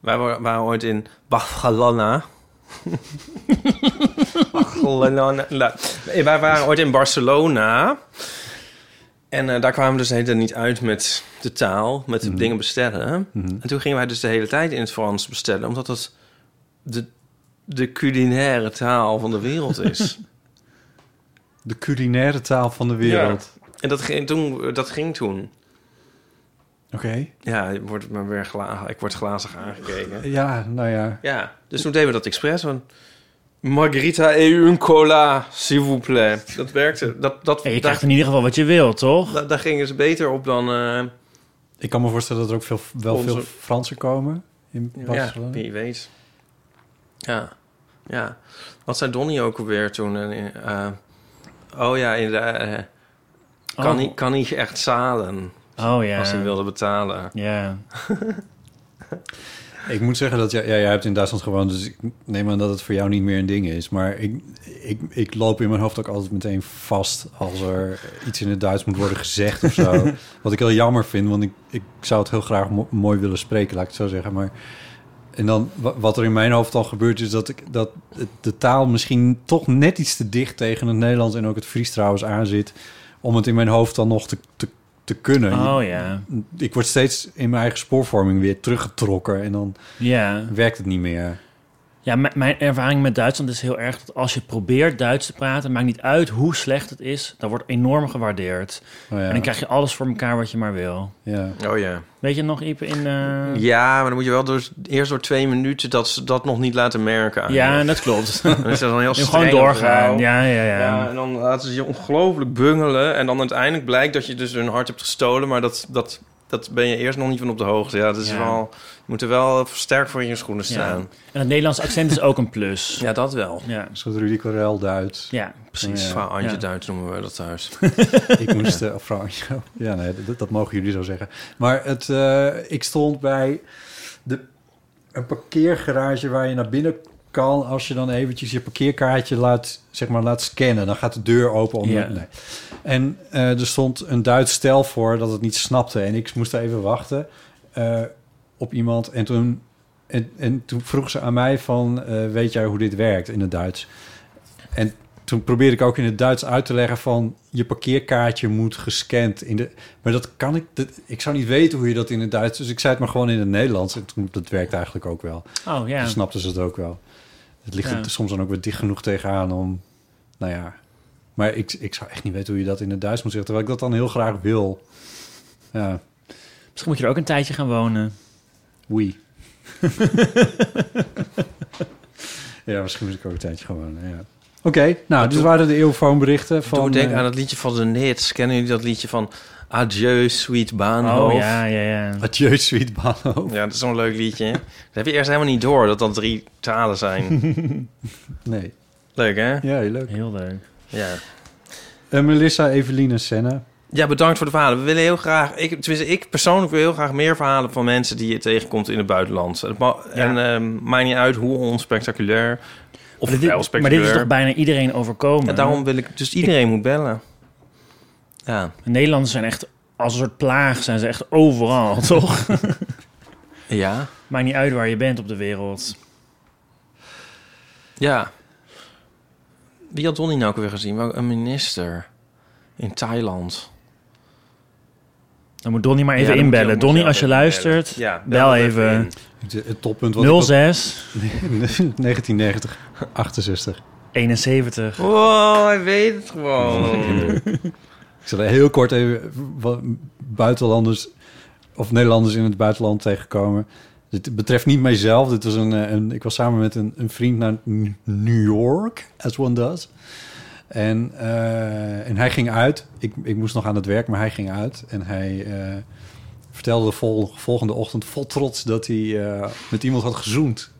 Wij wa- waren ooit in Barcelona. Barcelona. Nou, Wij waren ooit in Barcelona. En eh, daar kwamen we dus de hele tijd niet uit met de taal, met de dingen bestellen. En toen gingen wij dus de hele tijd in het Frans bestellen, omdat dat de, de culinaire taal van de wereld is. De culinaire taal van de wereld. Ja. En dat ging toen. Dat ging toen. Oké. Ja, je wordt me weer gla- ik word glazig aangekeken. Ja, nou ja. Ja, dus toen deden we dat expres. Van, Margarita et une cola, s'il vous plaît. Dat werkte. Dat, dat, En daar, je krijgt in ieder geval wat je wil, toch? daar, daar gingen ze beter op dan... eh, Ik kan me voorstellen dat er ook veel, wel Onze- veel Fransen komen in ja, Barcelona. wie weet. Ja, ja. Wat zei Donnie ook alweer toen? eh, eh, oh ja, in de, eh, kan, Oh. niet, kan niet echt zalen Oh ja. als hij wilde betalen. Ja. Ik moet zeggen dat jij, ja, jij hebt in Duitsland gewoond, dus ik neem aan dat het voor jou niet meer een ding is. Maar ik, ik, ik loop in mijn hoofd ook altijd meteen vast als er iets in het Duits moet worden gezegd of zo. Wat ik heel jammer vind, want ik, ik zou het heel graag mo- mooi willen spreken, laat ik het zo zeggen. Maar en dan wa- wat er in mijn hoofd dan gebeurt, is dat, ik, dat het- de taal misschien toch net iets te dicht tegen het Nederlands en ook het Fries trouwens aan zit. Om het in mijn hoofd dan nog te, te, te kunnen. Oh ja. Ik word steeds in mijn eigen spoorvorming weer teruggetrokken en dan Ja. werkt het niet meer. Ja, m- mijn ervaring met Duitsland is heel erg dat als je probeert Duits te praten, maakt niet uit hoe slecht het is, dat wordt enorm gewaardeerd. Oh ja. En dan krijg je alles voor elkaar wat je maar wil. ja. Oh ja. Weet je nog, Iep, in... eh, Ja, maar dan moet je wel door, eerst door twee minuten dat ze dat nog niet laten merken. Ja, dat klopt. Dan is dat dan heel En streng. gewoon op doorgaan. jou. Ja, ja, ja. Ja, en dan laten ze je ongelooflijk bungelen. En dan uiteindelijk blijkt dat je dus hun hart hebt gestolen. Maar dat, dat, dat ben je eerst nog niet van op de hoogte. Ja, dat is Ja. wel... Je moet er wel sterk voor in je schoenen Ja. staan. En het Nederlands accent is ook een plus. Ja, dat wel. Ja, Een soort Rudy Corel Duits. ja precies. Ja. Vrouw Antje Ja. Duits noemen we dat thuis. Ik moest... eh, oh, vrouw, ja. ja, nee, dat, dat mogen jullie zo zeggen. Maar het, eh, ik stond bij de, een parkeergarage waar je naar binnen kan... als je dan eventjes je parkeerkaartje laat, zeg maar, laat scannen. Dan gaat de deur open. Om Ja. nee. En eh, er stond een Duits stel voor dat het niet snapte. En ik moest even wachten eh, op iemand. En toen, en, en toen vroeg ze aan mij van... eh, weet jij hoe dit werkt in het Duits? En toen probeerde ik ook in het Duits uit te leggen van... je parkeerkaartje moet gescand in de... Maar dat kan ik... dat- ik zou niet weten hoe je dat in het Duits... Dus ik zei het maar gewoon in het Nederlands. En toen, dat werkt eigenlijk ook wel. Oh ja. Toen snapten ze het ook wel. Het ligt Ja. er soms dan ook weer dicht genoeg tegenaan om... Nou ja, maar ik, ik zou echt niet weten hoe je dat in het Duits moet zeggen. Terwijl ik dat dan heel graag wil. Ja. Misschien moet je er ook een tijdje gaan wonen. Wee. ja, misschien moet ik ook een tijdje gewoon. Ja. Oké, nou, dit waren de eeuwfoonberichten Toen van... Doe denk eh, aan het liedje van de Nits. Kennen jullie dat liedje van Adieu, sweet Baanhof? Oh ja, ja, ja. Adieu, sweet Baanhof. Ja, dat is zo'n leuk liedje. hè? Dat heb je eerst helemaal niet door, dat dat drie talen zijn. Nee. Leuk, hè? Ja, heel leuk. Heel leuk. Ja. Eh, Melissa, Eveline, Senna. Ja, bedankt voor de verhalen. We willen heel graag... Ik, tenminste, ik persoonlijk wil heel graag meer verhalen van mensen die je tegenkomt in het buitenland. Het ma- En ehm, maakt niet uit hoe onspectaculair of Maar dit- wel maar dit is spectaculair. toch bijna iedereen overkomen? En daarom wil ik... Dus iedereen moet bellen. Ja. De Nederlanders zijn echt als een soort plaag, zijn ze echt overal, toch? Ja. Maakt niet uit waar je bent op de wereld. Ja. Wie had Donnie nou ook weer gezien? Wel, Een minister in Thailand. Dan moet Donnie maar even Ja, dan moet je- inbellen. moet je Donnie, ook als je even luistert, bellen. Ja, bel bel even even in. Het, het toppunt wat ik op- 06 1990, 68. 71. Wow, Oh, hij weet het gewoon. Ik zal heel kort even wat buitenlanders of Nederlanders in het buitenland tegenkomen. Dit betreft niet mijzelf. Dit was een, eh, een, ik was samen met een, een vriend naar N- New York, as one does. En, eh, en hij ging uit. Ik, ik moest nog aan het werk, maar hij ging uit. En hij eh, vertelde de vol- volgende ochtend vol trots dat hij eh, met iemand had gezoend.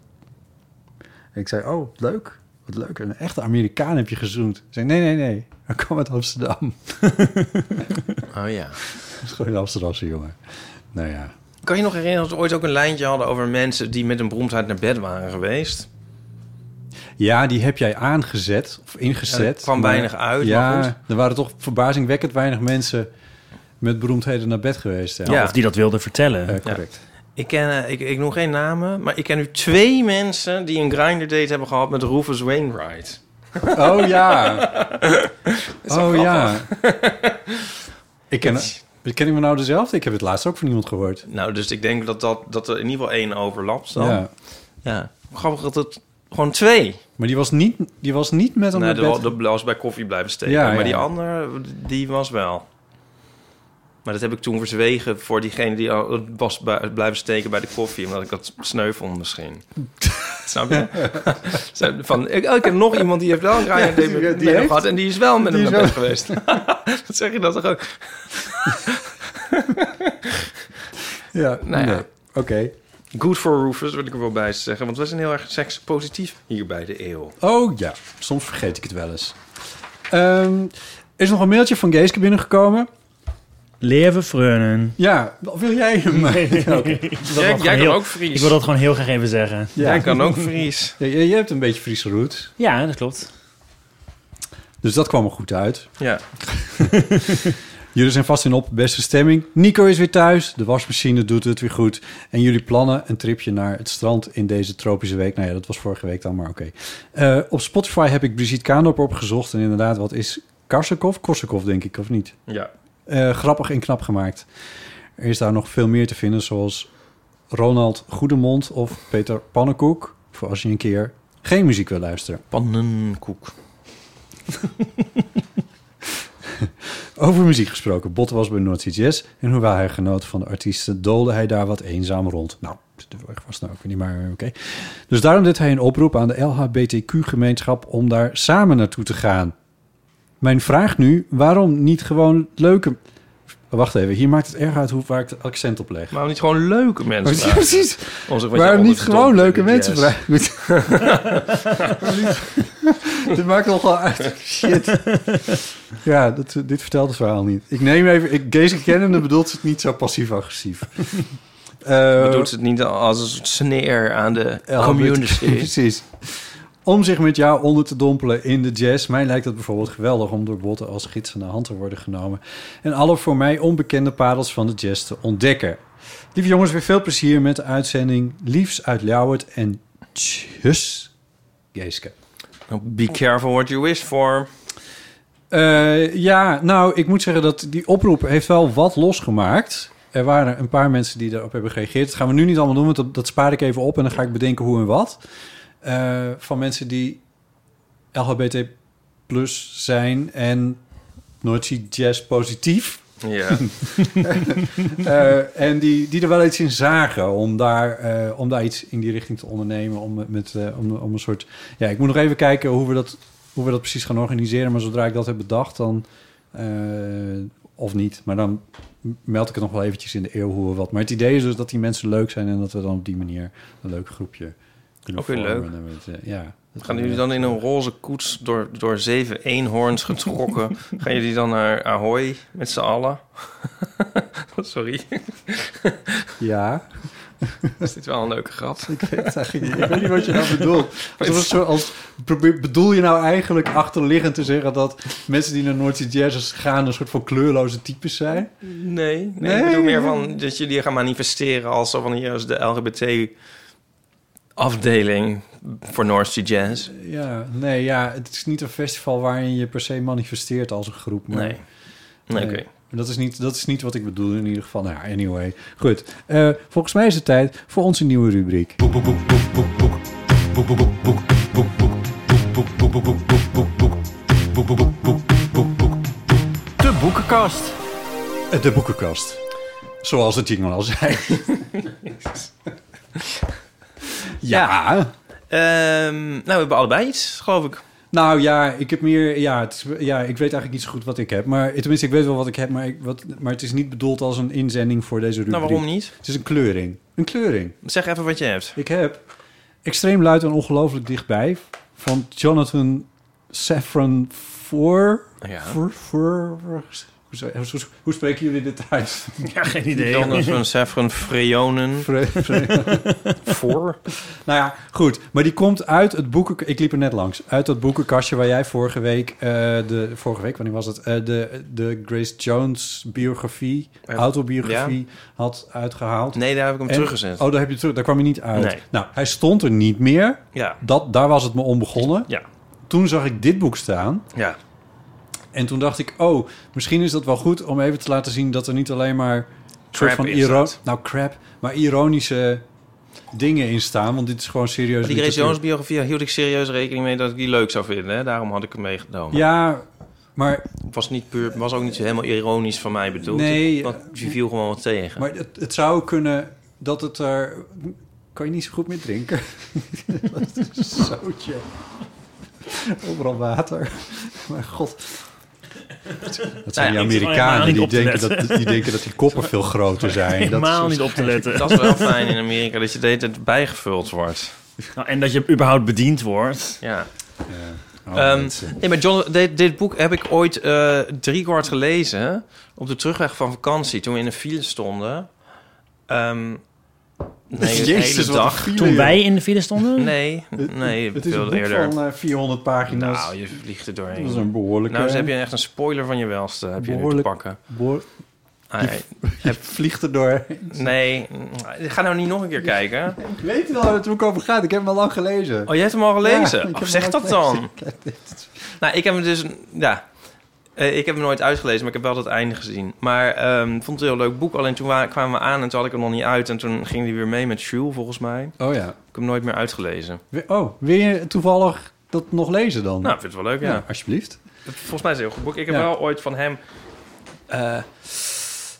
En ik zei, oh, leuk. Wat leuk. Een echte Amerikaan heb je gezoend. Ik zei, nee, nee, nee. Hij kwam uit Amsterdam. oh ja. Dat is gewoon een Amsterdamse jongen. Nou ja. Kan je nog herinneren dat we ooit ook een lijntje hadden over mensen die met een beroemdheid naar bed waren geweest? Ja, die heb jij aangezet of ingezet. Ja, er kwam weinig uit, ja, maar goed. er waren toch verbazingwekkend weinig mensen met beroemdheden naar bed geweest. Ja, Ja. Of die dat wilde vertellen. Eh, correct. Ik, ken, eh, ik, ik noem geen namen, maar ik ken nu twee mensen die een grinder date hebben gehad met Rufus Wainwright. Oh ja. oh grappig. ja. ik ken, ken ik me nou dezelfde? Ik heb het laatst ook van iemand gehoord. Nou, dus ik denk dat, dat, dat er in ieder geval één overlapt dan. Ja. Ja. Grappig dat het gewoon twee. Maar die was niet, die was niet met hem Nee, naar bed. de, de was bij koffie blijven steken. Ja, maar ja. die ander, die was wel. Maar dat heb ik toen verzwegen voor diegene die al was bij- blijven steken bij de koffie. Omdat ik dat sneu vond misschien. Snap je? Zo Van, ik, oh, ik heb nog iemand die heeft wel een Ryan die- Day met- die met hem heeft- gehad. En die is wel met die hem is naar bed wel- geweest. dat zeg je dat toch ook? Ja, Nou ja. nee. Oké. Good for roofers, wil ik er wel bij zeggen. Want we zijn heel erg sekspositief hier bij de eeuw. Oh ja, soms vergeet ik het wel eens. Ehm, er is nog een mailtje van Geeske binnengekomen. Leven freunen. Ja, wil jij hem? Ja, oké. Jij, dat jij gewoon kan heel- ook Fries. Ik wil dat gewoon heel graag even zeggen. Ja. Jij kan ook Fries. Ja, jij- jij hebt een beetje Friese roots, Ja, dat klopt. dus dat kwam er goed uit. Ja. Jullie zijn vast in op beste stemming. Nico is weer thuis, de wasmachine doet het weer goed. En jullie plannen een tripje naar het strand in deze tropische week. Nou ja, dat was vorige week dan, maar oké. Eh, op Spotify heb ik Brigitte Kaandorp opgezocht. En inderdaad, wat is Karsakov? Korsakov, denk ik, of niet? Ja. Eh, grappig en knap gemaakt. Er is daar nog veel meer te vinden, zoals Ronald Goedemond of Peter Pannenkoek. Voor als je een keer geen muziek wil luisteren. Pannenkoek. Over muziek gesproken. Bot was bij North Sea Jazz. En hoewel hij genoot van de artiesten, doolde hij daar wat eenzaam rond. Nou, dat wil ik vast nou ook weer niet, maar oké. Dus daarom deed hij een oproep aan de LHBTQ-gemeenschap om daar samen naartoe te gaan. Mijn vraag nu, waarom niet gewoon leuke... Wacht even, hier maakt het erg uit hoe, waar ik het accent op leg. Maar niet gewoon leuke mensen Oh, Ja, vragen? precies. Om zich wat Waarom je niet onderverdomme gewoon leuke vindt, mensen yes. vragen? Waarom niet? dit maakt nogal uit. Shit. Ja, dat, dit vertelt het verhaal niet. Ik neem even... Ik, Gees kennende bedoelt het niet zo passief-agressief. Eh, Bedoelt ze het niet als een soort sneer aan de ja, community? Precies. Om zich met jou onder te dompelen in de jazz. Mij lijkt het bijvoorbeeld geweldig om door botten als gids aan de hand te worden genomen. En alle voor mij onbekende parels van de jazz te ontdekken. Lieve jongens, weer veel plezier met de uitzending. Liefs uit Ljouwert en tjus, Geeske. Nou, Be careful what you wish for. Eh, ja, nou, ik moet zeggen dat die oproep heeft wel wat losgemaakt. Er waren een paar mensen die daarop hebben gereageerd. Dat gaan we nu niet allemaal doen, want dat, dat spaar ik even op... en dan ga ik bedenken hoe en wat. eh, van mensen die LGBT plus zijn en nooit zie jazz positief. Ja. Eh, en die, die er wel iets in zagen om daar, eh, om daar iets in die richting te ondernemen. Om, met, eh, om, om een soort. Ja, ik moet nog even kijken hoe we, dat, hoe we dat precies gaan organiseren. Maar zodra ik dat heb bedacht, dan. eh, of niet. Maar dan meld ik het nog wel eventjes in de eeuw hoe we wat. Maar het idee is dus dat die mensen leuk zijn en dat we dan op die manier een leuk groepje kunnen Ook weer vormen. leuk. En met, eh, ja. Gaan jullie dan in een roze koets door, door zeven eenhoorns getrokken? gaan jullie dan naar Ahoy met z'n allen? Sorry. Ja. Is dit wel een leuke grap? Ik weet, het eigenlijk niet. ik weet niet wat je nou bedoelt. Alsof het zo als, probeer- bedoel je nou eigenlijk achterliggend te zeggen dat mensen die naar Noordse Jazz gaan een soort van kleurloze types zijn? Nee, nee, ik bedoel meer van dat jullie gaan manifesteren als zo van hier is de LGBT afdeling voor North Sea Jazz. Ja, nee, ja, het is niet een festival waarin je per se manifesteert als een groep. Maar, Nee. Nee, oké. Dat is, niet, dat is niet wat ik bedoel in ieder geval. Nou, ja, anyway. Goed. Eh, volgens mij is het tijd voor onze nieuwe rubriek. De boekenkast. Eh, De boekenkast. Zoals het jingle al zei. ja. Ehm, nou, we hebben allebei iets, geloof ik. Nou ja, ik heb meer. Ja, het is, ja, ik weet eigenlijk niet zo goed wat ik heb. Maar tenminste, ik weet wel wat ik heb. Maar, ik, wat, maar het is niet bedoeld als een inzending voor deze rubriek. Nou, waarom niet? Het is een kleuring. Een kleuring. Zeg even wat je hebt. Ik heb Extreem Luid en Ongelooflijk Dichtbij van Jonathan Safran Foer. Ja. Foer- Foer- hoe, zou- hoe- hoe spreken jullie dit uit? Ja, geen idee. Jonathan Saffron Freonen. Fre- Fre- Voor? Nou ja, goed. Maar die komt uit het boeken... Ik liep er net langs. Uit dat boekenkastje waar jij vorige week... eh, de, vorige week, wanneer was het? Eh, de, de Grace Jones biografie, Eh, autobiografie had uitgehaald. Nee, daar heb ik hem En- teruggezet. Oh, daar heb je terug. Daar kwam je niet uit. Nee. Nou, hij stond er niet meer. Ja. Dat, daar was het me onbegonnen. Ja. Toen zag ik dit boek staan. Ja. En toen dacht ik, oh, misschien is dat wel goed om even te laten zien dat er niet alleen maar soort Crap van is iro- dat. nou crap, maar ironische dingen in staan, want dit is gewoon serieus. Die Grace literatuur. Jones biografie hield ik serieus rekening mee dat ik die leuk zou vinden. Hè? Daarom had ik hem meegenomen. Ja, maar, Was, niet puur, was ook niet zo helemaal ironisch van mij bedoeld. Nee, Want je viel gewoon wat tegen. maar het, het zou kunnen dat het er. Kan je niet zo goed meer drinken? dat is zootje. Overal water. Mijn god. Dat zijn die Nou ja, ik zit wel helemaal Amerikanen niet die op te denken, dat, letten. die denken dat die koppen veel groter zijn. Dat is Helemaal niet op te letten. Dat is wel fijn in Amerika, dat je de hele tijd bijgevuld wordt. Nou, en dat je überhaupt bediend wordt. Ja. Oh, Ehm, mensen. nee, maar John, dit, dit boek heb ik ooit eh drie kwart gelezen. Op de terugweg van vakantie, toen we in de file stonden. Ehm nee, de Jezus, hele wat een dag. file, Toen joh. wij in de file stonden? Nee, nee, het is een veel boek eerder. van eh, 400 pagina's. Nou, je vliegt er doorheen. dat is een behoorlijke... Nou, dus heb je echt een spoiler van je welste. Heb je nu te Behoorlijk. pakken. behoor- Ah, je vliegt er door. nee, ga nou niet nog een keer kijken. Ik weet wel waar het boek over gaat. Ik heb hem al lang gelezen. Oh, je hebt hem al Ja, gelezen? ik Oh, heb zeg hem dat al dan. Nou, ik heb hem dus... Ja, Eh, ik heb hem nooit uitgelezen, maar ik heb wel dat einde gezien. Maar ehm, ik vond het een heel leuk boek. Alleen toen wa- kwamen we aan en toen had ik hem nog niet uit. En toen ging hij weer mee met Jules, volgens mij. Ik Oh ja. heb hem nooit meer uitgelezen. We- Oh, wil je toevallig dat nog lezen dan? Nou, ik vind het wel leuk, ja. Ja, alsjeblieft. Volgens mij is het een heel goed boek. Ik heb Ja. wel ooit van hem... eh,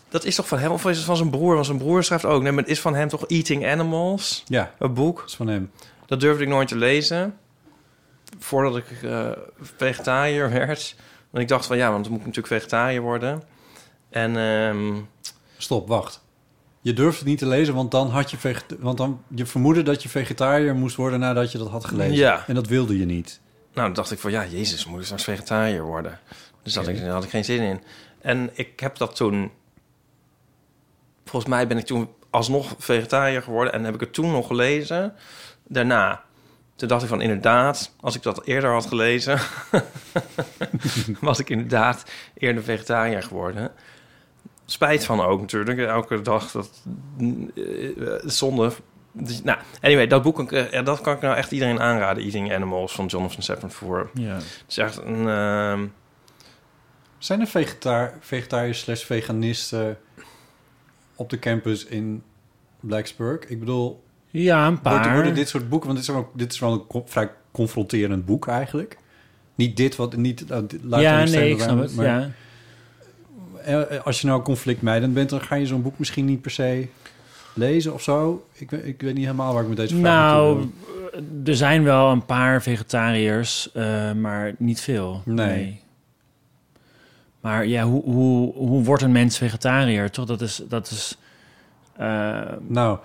dat is toch van hem? Of is het van zijn broer? Want zijn broer schrijft ook. Nee, maar het is van hem toch Eating Animals? Ja, dat Een boek. is van hem. Dat durfde ik nooit te lezen. Voordat ik eh, vegetariër werd. Want ik dacht van ja, want dan moet ik natuurlijk vegetariër worden. En ehm, Stop, wacht. Je durft het niet te lezen, want dan had je vege- want dan je vermoedde dat je vegetariër moest worden nadat je dat had gelezen. Ja. En dat wilde je niet. nou, dan dacht ik van ja, Jezus, moet ik straks vegetariër worden? Dus dat Oké. ik, daar had ik geen zin in. En ik heb dat toen. Volgens mij ben ik toen alsnog vegetariër geworden en heb ik het toen nog gelezen. Daarna. Toen dacht ik van inderdaad, als ik dat eerder had gelezen, was ik inderdaad eerder vegetariër geworden. Spijt van ook natuurlijk. Elke dag dat eh, eh, zonde. Dus, nou, anyway, dat boek eh, ja, dat kan ik nou echt iedereen aanraden. Eating Animals van Jonathan Safran Foer. Ja. Het is echt een. ehm, Zijn er vegeta- vegetariërs slash veganisten op de campus in Blacksburg? Ik bedoel, Ja, een paar. Worden, worden dit soort boeken, want dit is, ook, dit is wel een co- vrij confronterend boek eigenlijk. Niet dit, wat niet... Uh, dit- laat ja, hem staan nee, ik waar- snap het. maar- ja. Eh, eh, Als je nou conflictmijdend bent, dan ga je zo'n boek misschien niet per se lezen of zo. Ik, we- ik weet niet helemaal waar ik met deze vraag naartoe Nou, wil. er zijn wel een paar vegetariërs, eh, maar niet veel. Nee. Maar ja, hoe, hoe, hoe wordt een mens vegetariër? Toch, dat is... Dat is eh, Nou,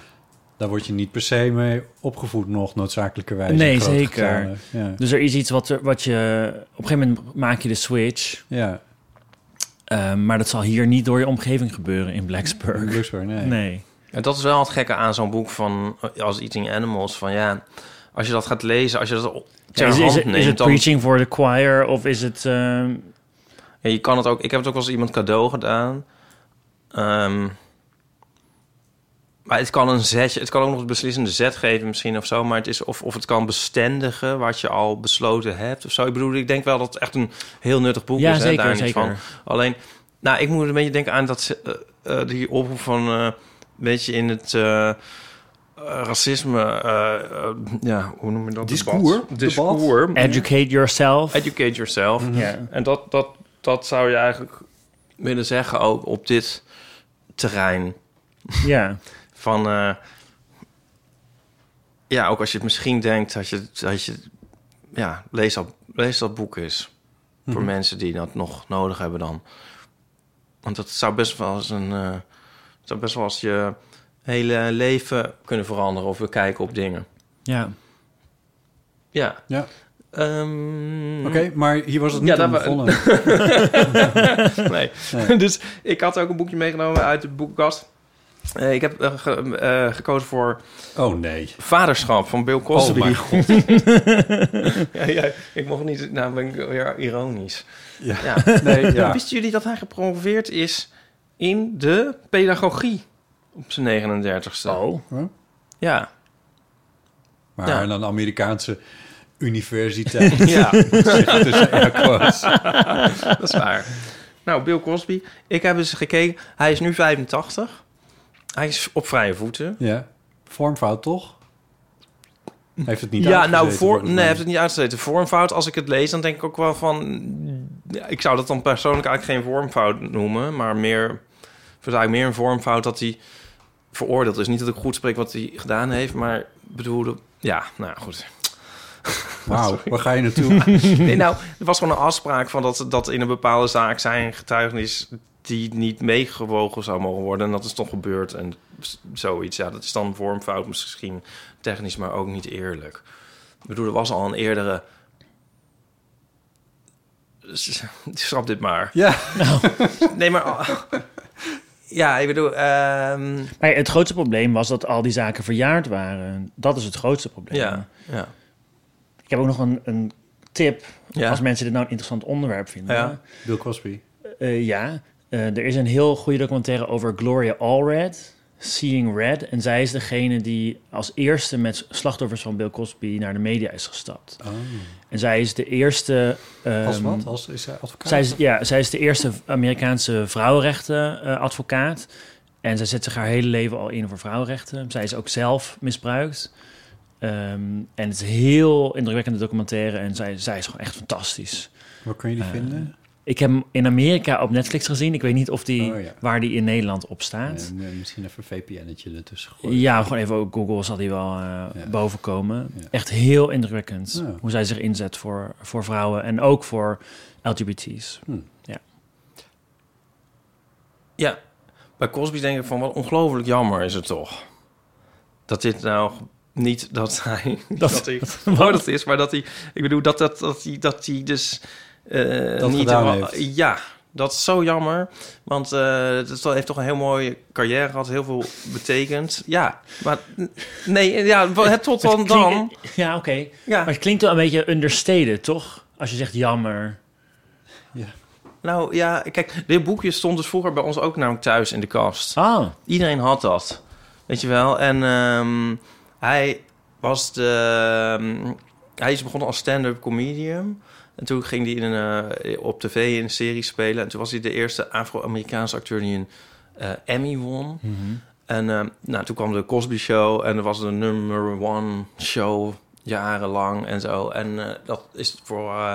daar word je niet per se mee opgevoed nog noodzakelijkerwijs. in nee, grote zeker. getalen. Ja. Dus er is iets wat, er- wat je... Op een gegeven moment maak je de switch. Ja. Eh, maar dat zal hier niet door je omgeving gebeuren in Blacksburg. In Blacksburg, nee. Nee. En dat is wel het gekke aan zo'n boek van eh, als Eating Animals. Van ja, als je dat gaat lezen, als je dat op- ter Ja, is, is, hand het- neemt, is het dan- preaching for the choir of is het... ehm, Ja, je kan het ook. Ik heb het ook wel eens iemand cadeau gedaan. Ehm, maar het kan een zetje, het kan ook nog een beslissende zet geven misschien of zo. Maar het is of, of het kan bestendigen wat je al besloten hebt of zo. Ik bedoel, ik denk wel dat het echt een heel nuttig boek Ja, is. hè, zeker, daar niet zeker. Van. Alleen, nou, ik moet een beetje denken aan dat ze- eh, eh, die oproep van eh, een beetje in het eh, eh, racisme, eh, eh, ja, hoe noem je dat? Discours, Debat. Discours. Educate yourself. Educate yourself. Ja. En dat, dat, dat zou je eigenlijk willen zeggen ook op dit terrein. Ja. Van, eh, ja, ook als je het misschien denkt dat je, dat je ja, lees dat, lees dat boek eens. Voor Mhm. mensen die dat nog nodig hebben dan. Want dat zou best wel eens een, eh, zou best wel eens je hele leven kunnen veranderen of we kijken op dingen. Ja. Ja. Ja. Ehm, Oké, maar hier was het niet daar om wa- begonnen. nee. Nee. Dus ik had ook een boekje meegenomen uit de boekenkast. Eh, ik heb eh, ge- eh, gekozen voor Oh nee. Vaderschap van Bill Cosby. Oh mijn god. ja, ja, ik mocht niet... Nou ben ik weer ironisch. Ja. Ja. Nee, ja. Wisten jullie dat hij gepromoveerd is in de pedagogie op zijn 39ste? Oh. Ja. Maar Ja. aan een Amerikaanse universiteit. Ja, zegt tussen air quotes. dat is waar. Nou, Bill Cosby. Ik heb eens gekeken. Hij is nu 85. Hij is op vrije voeten. ja. Vormfout toch? Heeft het niet Ja, nou, uitgezeten, voor, volgens nee, mij. heeft het niet uitgezeten. Vormfout, als ik het lees, dan denk ik ook wel van... ja, Ik zou dat dan persoonlijk eigenlijk geen vormfout noemen... maar meer, ik vind het eigenlijk meer een vormfout dat hij veroordeeld is. Niet dat ik goed spreek wat hij gedaan heeft, maar bedoelde... Ja, nou ja, goed. Wauw, waar ga je naartoe? Nee, nou, er was gewoon een afspraak van dat, dat in een bepaalde zaak zijn getuigenis... die niet meegewogen zou mogen worden. En dat is toch gebeurd en z- zoiets. Ja, dat is dan vormfout misschien technisch, maar ook niet eerlijk. Ik bedoel, er was al een eerdere... S- Schrap dit maar. ja. Nee, maar... Ja, ik bedoel... ehm, Maar het grootste probleem was dat al die zaken verjaard waren. Dat is het grootste probleem. ja, ja. Ik heb ook nog een, een tip. Ja. Als mensen dit nou een interessant onderwerp vinden. Ja. Bill Cosby. Eh, ja. Eh, er is een heel goede documentaire over Gloria Allred. Seeing Red. En zij is degene die als eerste met slachtoffers van Bill Cosby naar de media is gestapt. En zij is de eerste... ehm, Oh. Als wat? Als is hij advocaat? Zij is, ja, zij is de eerste Amerikaanse vrouwenrechtenadvocaat. en zij zet zich haar hele leven al in voor vrouwenrechten. Zij is ook zelf misbruikt. Ehm, en het is een heel indrukwekkende documentaire. En zij, zij is gewoon echt fantastisch. Waar kun je die Eh, vinden? Ik heb hem in Amerika op Netflix gezien. Ik weet niet of die, Oh, ja. waar die in Nederland op staat. Eh, misschien even een VPN'tje ertussen gooien. Ja, gewoon even op Google zal die wel eh Ja. bovenkomen. Ja. Oh. Echt heel indrukwekkend Ja. hoe zij zich inzet voor, voor vrouwen en ook voor LGBT's. Ja, bij Cosby denk ik van wat ongelooflijk jammer is het toch. Dat dit nou niet dat hij dat, hij veroordeeld is, maar dat hij, ik bedoel dat dat dat hij dat hij dus eh, Dat niet gedaan helemaal- heeft. ja. Dat is zo jammer, want eh het is- dat heeft toch een heel mooie carrière gehad, heel veel betekend. Ja, maar n- nee, ja, wa- het tot dan Het klinkt- dan. Ja, oké. Ja, Maar het klinkt wel een beetje understated, toch? Als je zegt jammer. nou ja, kijk, dit boekje stond dus vroeger bij ons ook namelijk thuis in de kast. Ah, Iedereen had dat. Weet je wel? En ehm, hij was de. ehm, hij is begonnen als stand-up comedian. En toen ging hij in een, eh, op tv in een serie spelen. En toen was hij de eerste Afro-Amerikaanse acteur die een eh, Emmy won. En eh, nou, toen kwam de Cosby Show en dat was de number one show jarenlang en zo. En eh, dat is voor, eh,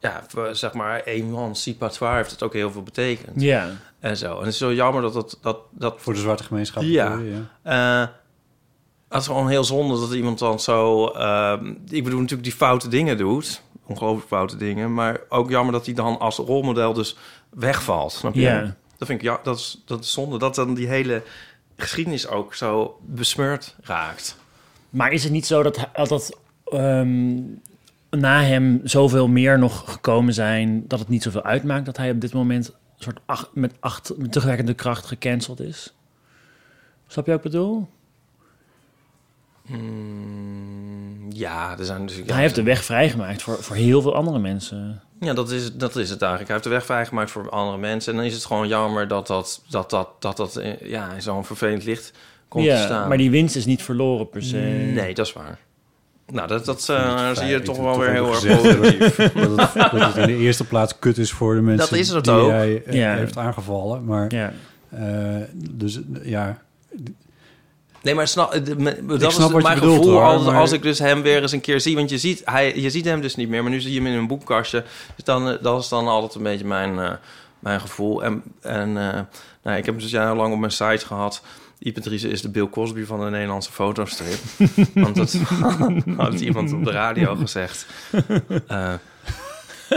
ja, voor, zeg maar, emancipatoire heeft het ook heel veel betekend. Ja. En zo. En het is zo jammer dat dat... dat, dat Voor de zwarte gemeenschap. Ja. bedoel je, ja. Eh, het is gewoon heel zonde dat iemand dan zo... ehm, ik bedoel natuurlijk die foute dingen doet. Ongelooflijk foute dingen. Maar ook jammer dat hij dan als rolmodel dus wegvalt. Snap je? Ja. Dat vind ik ja, dat is, dat is zonde. Dat dan die hele geschiedenis ook zo besmeurd raakt. Maar is het niet zo dat, hij- dat ehm, na hem zoveel meer nog gekomen zijn... dat het niet zoveel uitmaakt dat hij op dit moment... een soort ach- met, acht, met terugwerkende kracht gecanceld is? Snap je wat ik bedoel? Mm, ja, er zijn dus... hij heeft de weg vrijgemaakt voor, voor heel veel andere mensen. Ja, dat is, dat is het eigenlijk. Hij heeft de weg vrijgemaakt voor andere mensen. En dan is het gewoon jammer dat dat, dat, dat, dat, dat eh, ja, in zo'n vervelend licht komt te staan. maar die winst is niet verloren per se. Nee, dat is waar. Nou, dat, dat eh, Fijn zie je dat toch het wel weer even heel erg gezegd positief. wordt. dat, het, dat het in de eerste plaats kut is voor de mensen Dat is het die ook. hij eh, Ja. heeft aangevallen. Maar, Ja. eh, dus eh, ja, Nee, maar snap, eh, de- me- dat snap is wat je mijn bedoelt, gevoel hoor, als, maar- als ik dus hem weer eens een keer zie. Want je ziet, hij, je ziet hem dus niet meer, maar nu zie je hem in een boekkastje. Dus dan, eh, dat is dan altijd een beetje mijn, eh, mijn gevoel. En, en eh, nou, ik heb hem dus jarenlang op mijn site gehad. Ipatrice is de Bill Cosby van de Nederlandse fotostrip. Want dat had iemand op de radio gezegd. Eh,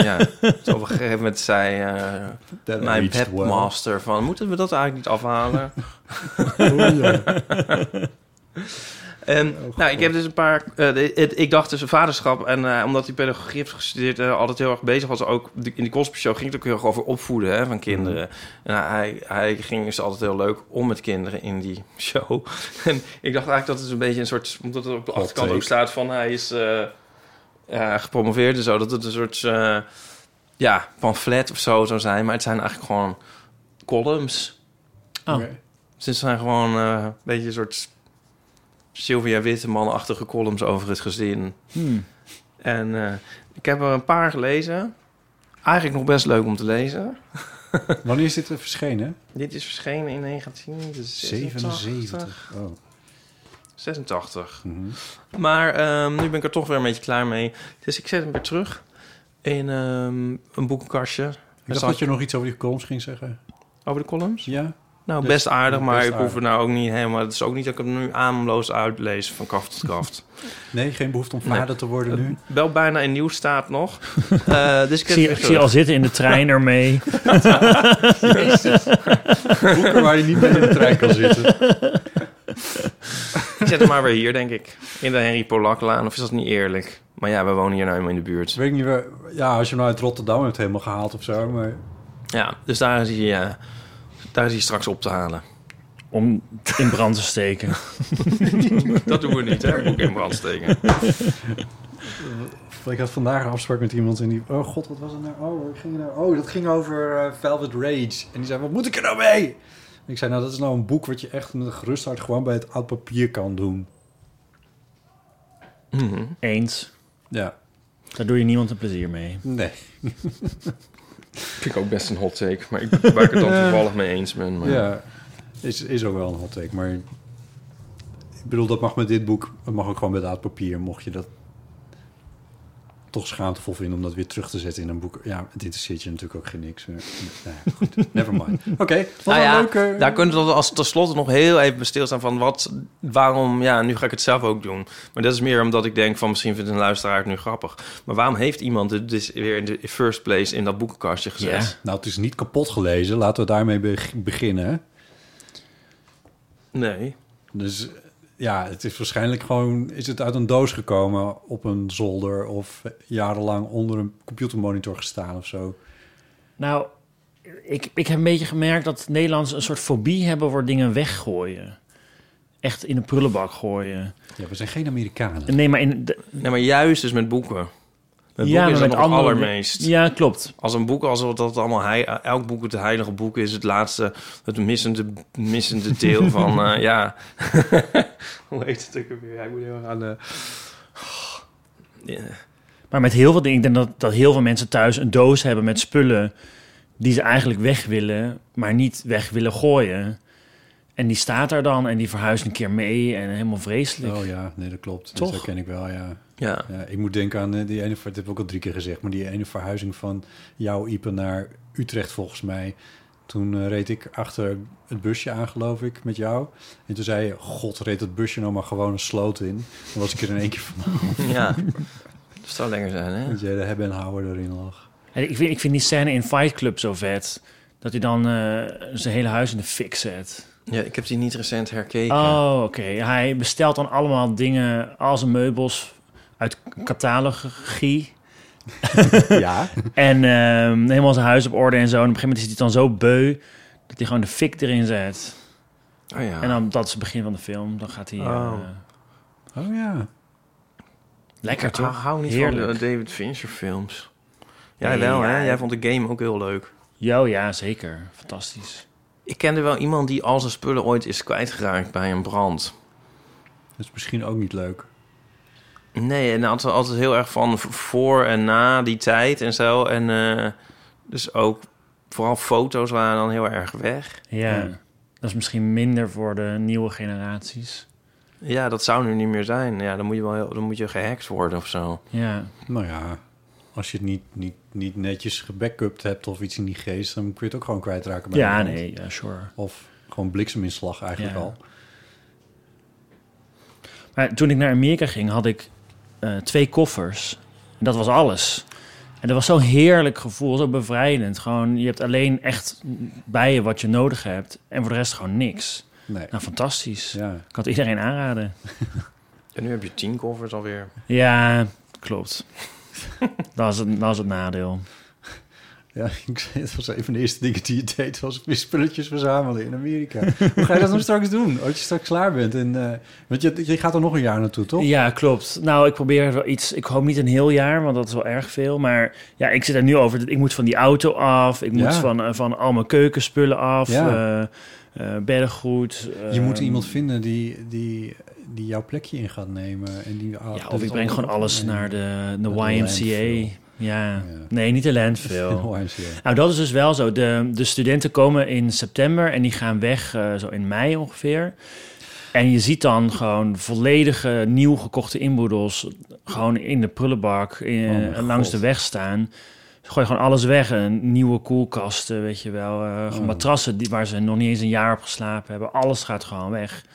ja, dus op een gegeven moment zei eh, That mijn aged well. webmaster van... moeten we dat eigenlijk niet afhalen? Oh, En, nou, ik heb dus een paar. eh, de- het- ik dacht dus vaderschap. En eh, omdat die pedagogie heeft gestudeerd, eh, altijd heel erg bezig was. Ook de- in de Cosby Show ging het ook heel erg over opvoeden hè, van Mm. kinderen. En hij, hij ging dus altijd heel leuk om met kinderen in die show. En ik dacht eigenlijk dat het een beetje een soort. Omdat het op de achterkant take. ook staat van hij is eh, ja, gepromoveerd en zo. Dat het een soort. eh, ja, pamflet of zo zou zijn. Maar het zijn eigenlijk gewoon columns. Oh. Oké. Dus het zijn gewoon eh, een beetje een soort Sylvia Witteman-achtige columns over het gezin. Hmm. En eh, ik heb er een paar gelezen. Eigenlijk nog best leuk om te lezen. wanneer is dit er verschenen? Dit is verschenen in 1977. 77. Oh. 86. mhm. Maar ehm, nu ben ik er toch weer een beetje klaar mee. Dus ik zet hem weer terug in ehm, een boekenkastje. Ik dacht dat je nog iets over die columns ging zeggen. Over de columns? Ja? Nou, Dus- best aardig, maar best ik hoef aardig. er nou ook niet helemaal... Het is ook niet dat ik hem nu ademloos uitlees van kaft tot kaft. Nee, geen behoefte om Nee. vader te worden nu. Eh, Wel bijna in nieuw staat nog. Eh, dus ik heb Ik zie, het ik weer zie je al terug. zitten in de trein ermee. Boeken waar je niet meer in de trein kan zitten. Ik zet hem maar weer hier, denk ik. In de Henry Polaklaan. Of is dat niet eerlijk? Maar ja, we wonen hier nou helemaal in de buurt. Dus weet ik niet waar... Ja, als je hem nou uit Rotterdam hebt helemaal gehaald of zo, maar... Ja, dus daar is hij, eh, daar is hij straks op te halen. Om in brand te steken. Dat doen we niet, hè? Boek in brand steken. Ik had vandaag een afspraak met iemand en die... Oh god, wat was het nou? Oh, waar ging het nou? Oh, dat ging over eh, Velvet Rage. En die zei, wat moet ik er nou mee? En ik zei, nou, dat is nou een boek wat je echt met een gerust hart gewoon bij het oud papier kan doen. Mhm. Eens. Ja. Daar doe je niemand een plezier mee. Nee. Vind ik ook best een hot take. Maar ik, waar ik het dan toevallig mee eens ben. Maar... Ja. Is, is ook wel een hot take, maar... Ik bedoel, dat mag met dit boek... Het mag ook gewoon met het oud papier, mocht je dat toch schaamtevol vinden om dat weer terug te zetten in een boek. Ja, het interesseert je natuurlijk ook geen niks. Eh, Nou, ja, goed, never mind. Oké, wat Nou een ja, leuke... daar kunnen we tot als tenslotte nog heel even bij stilstaan van wat, waarom, ja, nu ga ik het zelf ook doen. Maar dat is meer omdat ik denk van misschien vindt een luisteraar het nu grappig. Maar waarom heeft iemand het dus weer in de first place in dat boekenkastje gezet? Nou, het is niet kapot gelezen. Laten we daarmee beg- beginnen. Nee. Dus eh, ja, het is waarschijnlijk gewoon... Is het uit een doos gekomen op een zolder... of jarenlang onder een computermonitor gestaan of zo? Nou, ik, ik heb een beetje gemerkt dat Nederlanders een soort fobie hebben voor dingen weggooien. Echt in de prullenbak gooien. Ja, we zijn geen Amerikanen. Nee, maar in de, Nee, maar juist dus met boeken. Met boeken is maar dat nog het andere- allermeest. Ja, klopt. Als een boek, alsof dat allemaal hei- elk boek het heilige boek is, het laatste, het missende, missende deel van, eh, ja. Hoe heet het ook weer? Ja, ik moet heel erg aan de. Ja. Maar met heel veel dingen, ik denk dat, dat heel veel mensen thuis een doos hebben met spullen die ze eigenlijk weg willen, maar niet weg willen gooien. En die staat daar dan en die verhuist een keer mee en helemaal vreselijk. Oh ja, nee, dat klopt. Toch? Dat herken ik wel, ja. Ja. ik moet denken aan eh, die ene, ver- dat heb ik ook al drie keer gezegd, maar die ene verhuizing van jouw Ipe naar Utrecht volgens mij. Toen eh, reed ik achter het busje aan, geloof ik, met jou. En toen zei je, god, reed dat busje nou maar gewoon een sloot in. Dan was ik er in één keer van. Ja. Dat zou lekker zijn, hè? Dat jij de hebben en houden erin lag. En ik, vind, ik vind die scène in Fight Club zo vet. Dat hij dan eh, zijn hele huis in de fik zet. Ja, ik heb die niet recent herkeken. Oh, oké. Hij bestelt dan allemaal dingen, al zijn meubels uit catalogie. Ja. en ehm, helemaal zijn huis op orde en zo. En op een gegeven moment is hij dan zo beu dat hij gewoon de fik erin zet. Oh ja. En dan, dat is het begin van de film. Dan gaat hij... eh, Oh. Oh ja. lekker, Ik toch? hou- hou niet Heerlijk. van de David Fincher films. Jij Nee, wel, hè? ja. Jij vond de game ook heel leuk. Jo, ja, zeker. Fantastisch. Ik kende wel iemand die al zijn spullen ooit is kwijtgeraakt bij een brand. Dat is misschien ook niet leuk. Nee, en altijd, altijd heel erg van v- voor en na die tijd en zo. En eh, dus ook vooral foto's waren dan heel erg weg. Ja. Dat is misschien minder voor de nieuwe generaties. Ja, dat zou nu niet meer zijn. Ja, dan moet je wel heel- dan moet je gehackt worden of zo. Ja. Nou ja, als je het niet, niet, niet netjes gebackupt hebt of iets in die geest... dan kun je het ook gewoon kwijtraken bij Ja, iemand. nee. Ja, sure. Of gewoon blikseminslag eigenlijk Ja. al. Maar toen ik naar Amerika ging, had ik eh, twee koffers. En dat was alles. En dat was zo'n heerlijk gevoel, zo bevrijdend. Gewoon, je hebt alleen echt bij je wat je nodig hebt. En voor de rest gewoon niks. Nee. Nou, fantastisch. Ja. Ik kan het iedereen aanraden. En nu heb je tien covers alweer. Ja, klopt. dat, is het, dat is het nadeel. Ja, ik zei, het was een van de eerste dingen die je deed, was weer spulletjes verzamelen in Amerika. Hoe ga je dat nou straks doen, als je straks klaar bent? En, eh, want je, je gaat er nog een jaar naartoe, toch? Ja, klopt. Nou, ik probeer wel iets. Ik hoop niet een heel jaar, want dat is wel erg veel. Maar ja, ik zit er nu over. Ik moet van die auto af. Ik moet Ja. van, eh, van al mijn keukenspullen af. Ja. eh, eh, beddengoed. je moet ehm, iemand vinden die, die, die jouw plekje in gaat nemen. En die, Ja, of ik breng gewoon alles naar de, de Naar de YMCA. landfill. Ja. Nee, niet de landfill. YMCA. Nou, dat is dus wel zo. De, de studenten komen in september en die gaan weg eh, zo in mei ongeveer. En je ziet dan gewoon volledige nieuw gekochte inboedels gewoon in de prullenbak in- eh, Oh mijn langs God. de weg staan. Ze gooien gewoon alles weg. Een nieuwe koelkasten, weet je wel. eh, gewoon Oh. matrassen die, waar ze nog niet eens een jaar op geslapen hebben. Alles gaat gewoon weg.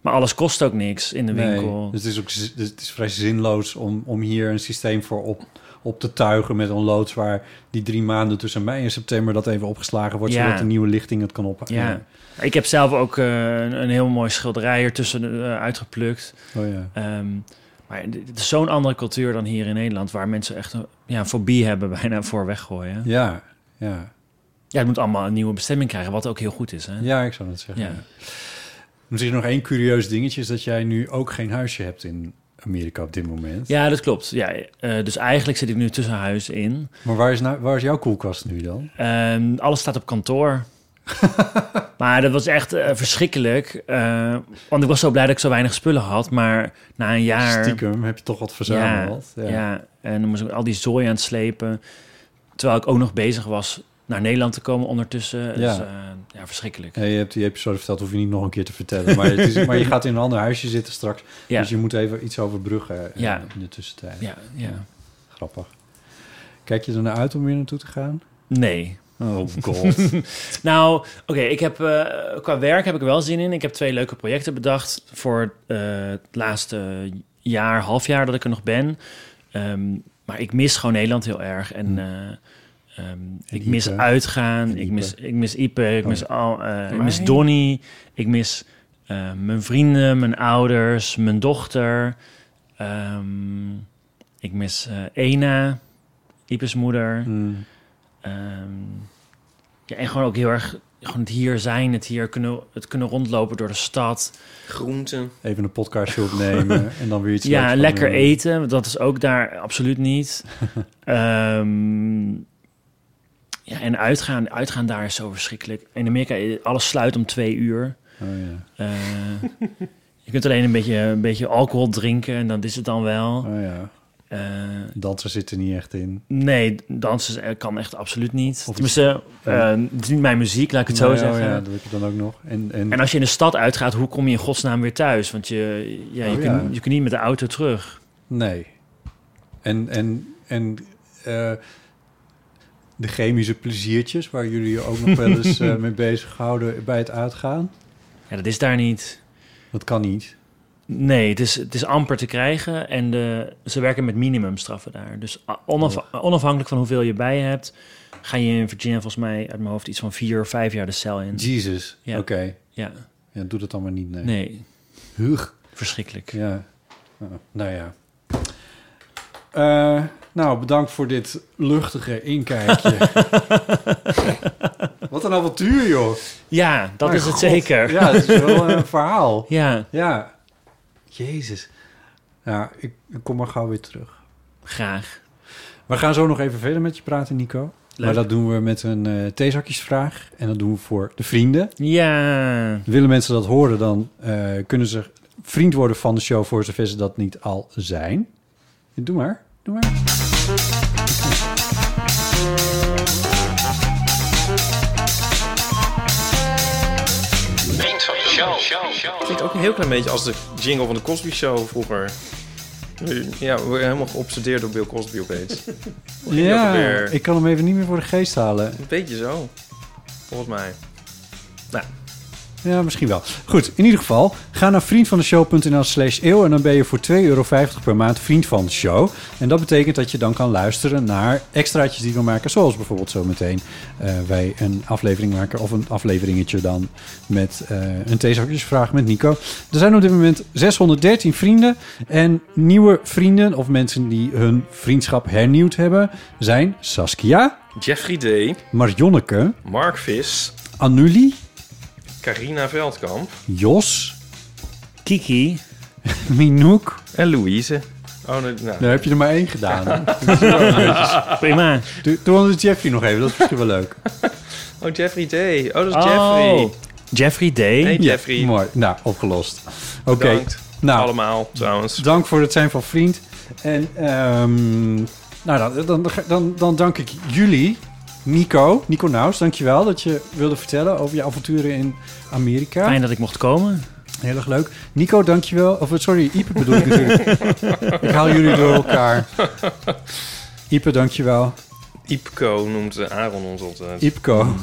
Maar alles kost ook niks in de winkel. Nee, dus het is, ook, z- dus het is vrij zinloos om, om hier een systeem voor op, op te tuigen met een loods... waar die drie maanden tussen mei en september dat even opgeslagen wordt... Ja. zodat de nieuwe lichting het kan oppakken. Ja. Ik heb zelf ook eh, een, een heel mooi schilderij ertussen eh, uitgeplukt. Oh ja. Ehm, maar dit dit is zo'n andere cultuur dan hier in Nederland... waar mensen echt een, ja, een fobie hebben bijna voor weggooien. Ja. Ja, ja. het moet allemaal een nieuwe bestemming krijgen, wat ook heel goed is. Hè? Ja, ik zou dat zeggen. Ja. ja. Misschien nog één curieus dingetje is dat jij nu ook geen huisje hebt in Amerika op dit moment. Ja, dat klopt. Ja, eh, dus eigenlijk zit ik nu tussen huis in. Maar waar is, nou, waar is jouw koelkast nu dan? Ehm, alles staat op kantoor. maar dat was echt eh, verschrikkelijk. eh, want ik was zo blij dat ik zo weinig spullen had. Maar na een jaar... Stiekem heb je toch wat verzameld. Ja, ja. en dan moest ik al die zooi aan het slepen. Terwijl ik ook nog bezig was naar Nederland te komen ondertussen. Dus, Ja. eh, ja verschrikkelijk. En je hebt die episode verteld, hoef je niet nog een keer te vertellen. Maar, het is, maar je gaat in een ander huisje zitten straks. Ja. Dus je moet even iets overbruggen eh, Ja. in de tussentijd. Ja, ja. Grappig. Kijk je er naar uit om weer naartoe te gaan? Nee. Oh god. Nou, oké, ik heb eh, qua werk heb ik er wel zin in. Ik heb twee leuke projecten bedacht voor eh, het laatste jaar, half jaar dat ik er nog ben. Ehm, maar ik mis gewoon Nederland heel erg. En, eh, ehm, ik mis Ipe. uitgaan. En Ik mis, Ipe. ik mis Ipe. Ik Oh, mis al. eh, ik Maar- mis Donny. Ik mis eh, mijn vrienden, mijn ouders, mijn dochter. Ehm, ik mis eh, Ena, Ipe's moeder. Hmm. Ehm, ja, en gewoon ook heel erg gewoon het hier zijn, het hier kunnen, het kunnen rondlopen door de stad. Groenten. Even een podcastje opnemen en dan weer iets leuks ja, gaan lekker doen. eten, want dat is ook daar absoluut niet. Ehm, ja, en uitgaan, uitgaan daar is zo verschrikkelijk. In Amerika, eh, alles sluit om twee uur. Oh, ja. Eh, je kunt alleen een beetje, een beetje alcohol drinken en dan is het dan wel. Eh, Oh, ja. Dansen zitten niet echt in. Nee, dansen eh, kan echt absoluut niet. Tenminste, eh, het is niet mijn muziek, laat ik het zo Nee, oh zeggen. ja, dat heb ik dan ook nog. En, en, En als je in de stad uitgaat, hoe kom je in godsnaam weer thuis? Want je, ja, je, Oh, kunt, ja. je kunt niet met de auto terug. Nee. En, en, en eh, de chemische pleziertjes waar jullie je ook nog wel eens eh, mee bezighouden bij het uitgaan? Ja, dat is daar niet. Dat kan niet. Nee, het is, het is amper te krijgen. En de, ze werken met minimumstraffen daar. Dus a- onaf- onafhankelijk van hoeveel je bij hebt... ga je in Virginia volgens mij uit mijn hoofd iets van vier of vijf jaar de cel in. Jezus. Ja. Oké. Ja, Ja, doe dat dan maar niet. Nee. nee, Hugh. verschrikkelijk. Ja. Oh, nou ja. Eh, nou, bedankt voor dit luchtige inkijkje. Wat een avontuur, joh. Ja, dat Mijn is het god. zeker. Ja, het is wel een verhaal. Ja, Ja. Jezus. Ja, ik, ik kom maar gauw weer terug. graag. We gaan zo nog even verder met je praten, Nico. Leuk. Maar dat doen we met een eh theezakjesvraag. En dat doen we voor de vrienden. Ja, Willen mensen dat horen, dan eh, kunnen ze vriend worden van de show... voor zover ze dat niet al zijn. Doe maar, doe maar. Vriend van de show. Klinkt ook een heel klein beetje als de jingle van de Cosby Show vroeger. Ja, we worden helemaal geobsedeerd door Bill Cosby opeens. Hoe ging dat ook Ja, weer? ik kan hem even niet meer voor de geest halen. Een beetje zo, volgens mij. Ja, misschien wel. Goed, in ieder geval, ga naar vriendvandeshow.nl slash eeuw... en dan ben je voor 2,50 euro per maand vriend van de show. En dat betekent dat je dan kan luisteren naar extraatjes die we maken... zoals bijvoorbeeld zometeen eh, wij een aflevering maken... of een afleveringetje dan met eh, een theezakjesvraag met Nico. Er zijn op dit moment 613 vrienden... en nieuwe vrienden of mensen die hun vriendschap hernieuwd hebben... zijn Saskia, Jeffrey D., Marjonneke, Mark Vis, Anuli, Carina Veldkamp Jos, Kiki. Minouk... en Louise. Oh, nee, nou. Daar heb je er maar één gedaan. Prima. Doe, doe anders Jeffrey nog even, dat is misschien wel leuk. Oh, Jeffrey D. Oh, dat is Jeffrey. Oh, Jeffrey D. Hey, Jeffrey. Ja, mooi. Nou, opgelost. Oké. Bedankt. Nou, Allemaal, trouwens. dank voor het zijn van vriend. En ehm, nou, dan, dan, dan, dan dank ik jullie, Nico, Nico Naus, dankjewel dat je wilde vertellen over je avonturen in Amerika. Fijn dat ik mocht komen. Heel erg leuk. Nico, dankjewel. Of sorry, Ipe bedoel ik natuurlijk. ik haal jullie door elkaar. Ipe, dankjewel. Ipco noemt eh, Aaron ons altijd. Ipco.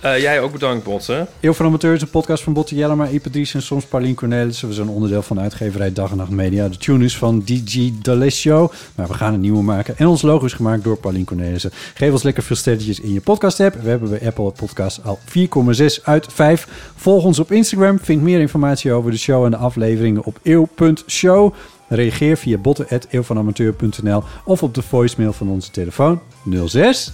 Eh, jij ook bedankt, Botten. Eeuw van Amateur is een podcast van Botte Jellema, Ipe Dries en soms Paulien Cornelissen. We zijn onderdeel van de uitgeverij Dag en Nacht Media. De tune is van DJ D'Alessio, maar we gaan een nieuwe maken. En ons logo is gemaakt door Paulien Cornelissen. Geef ons lekker veel sterretjes in je podcast-app. We hebben bij Apple Podcast al 4,6 uit 5. Volg ons op Instagram. Vind meer informatie over de show en de afleveringen op eeuw.show. Reageer via botten.eeuwvanamateur.nl of op de voicemail van onze telefoon 06.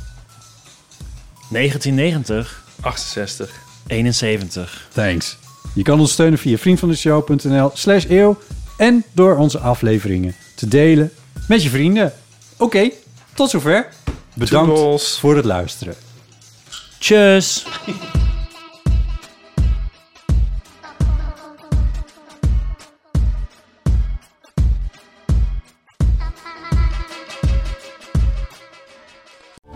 1990, 68. 71. Thanks. Je kan ons steunen via vriendvandeshow.nl slash eeuw en door onze afleveringen te delen met je vrienden. Oké, tot zover. Bedankt Toedels. voor het luisteren. Tjus.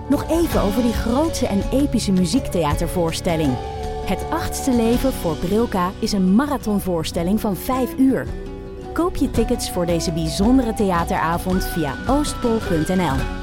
Nog even over die grootse en epische muziektheatervoorstelling. Het achtste leven voor Brilka is een marathonvoorstelling van 5 uur. Koop je tickets voor deze bijzondere theateravond via oostpol.nl.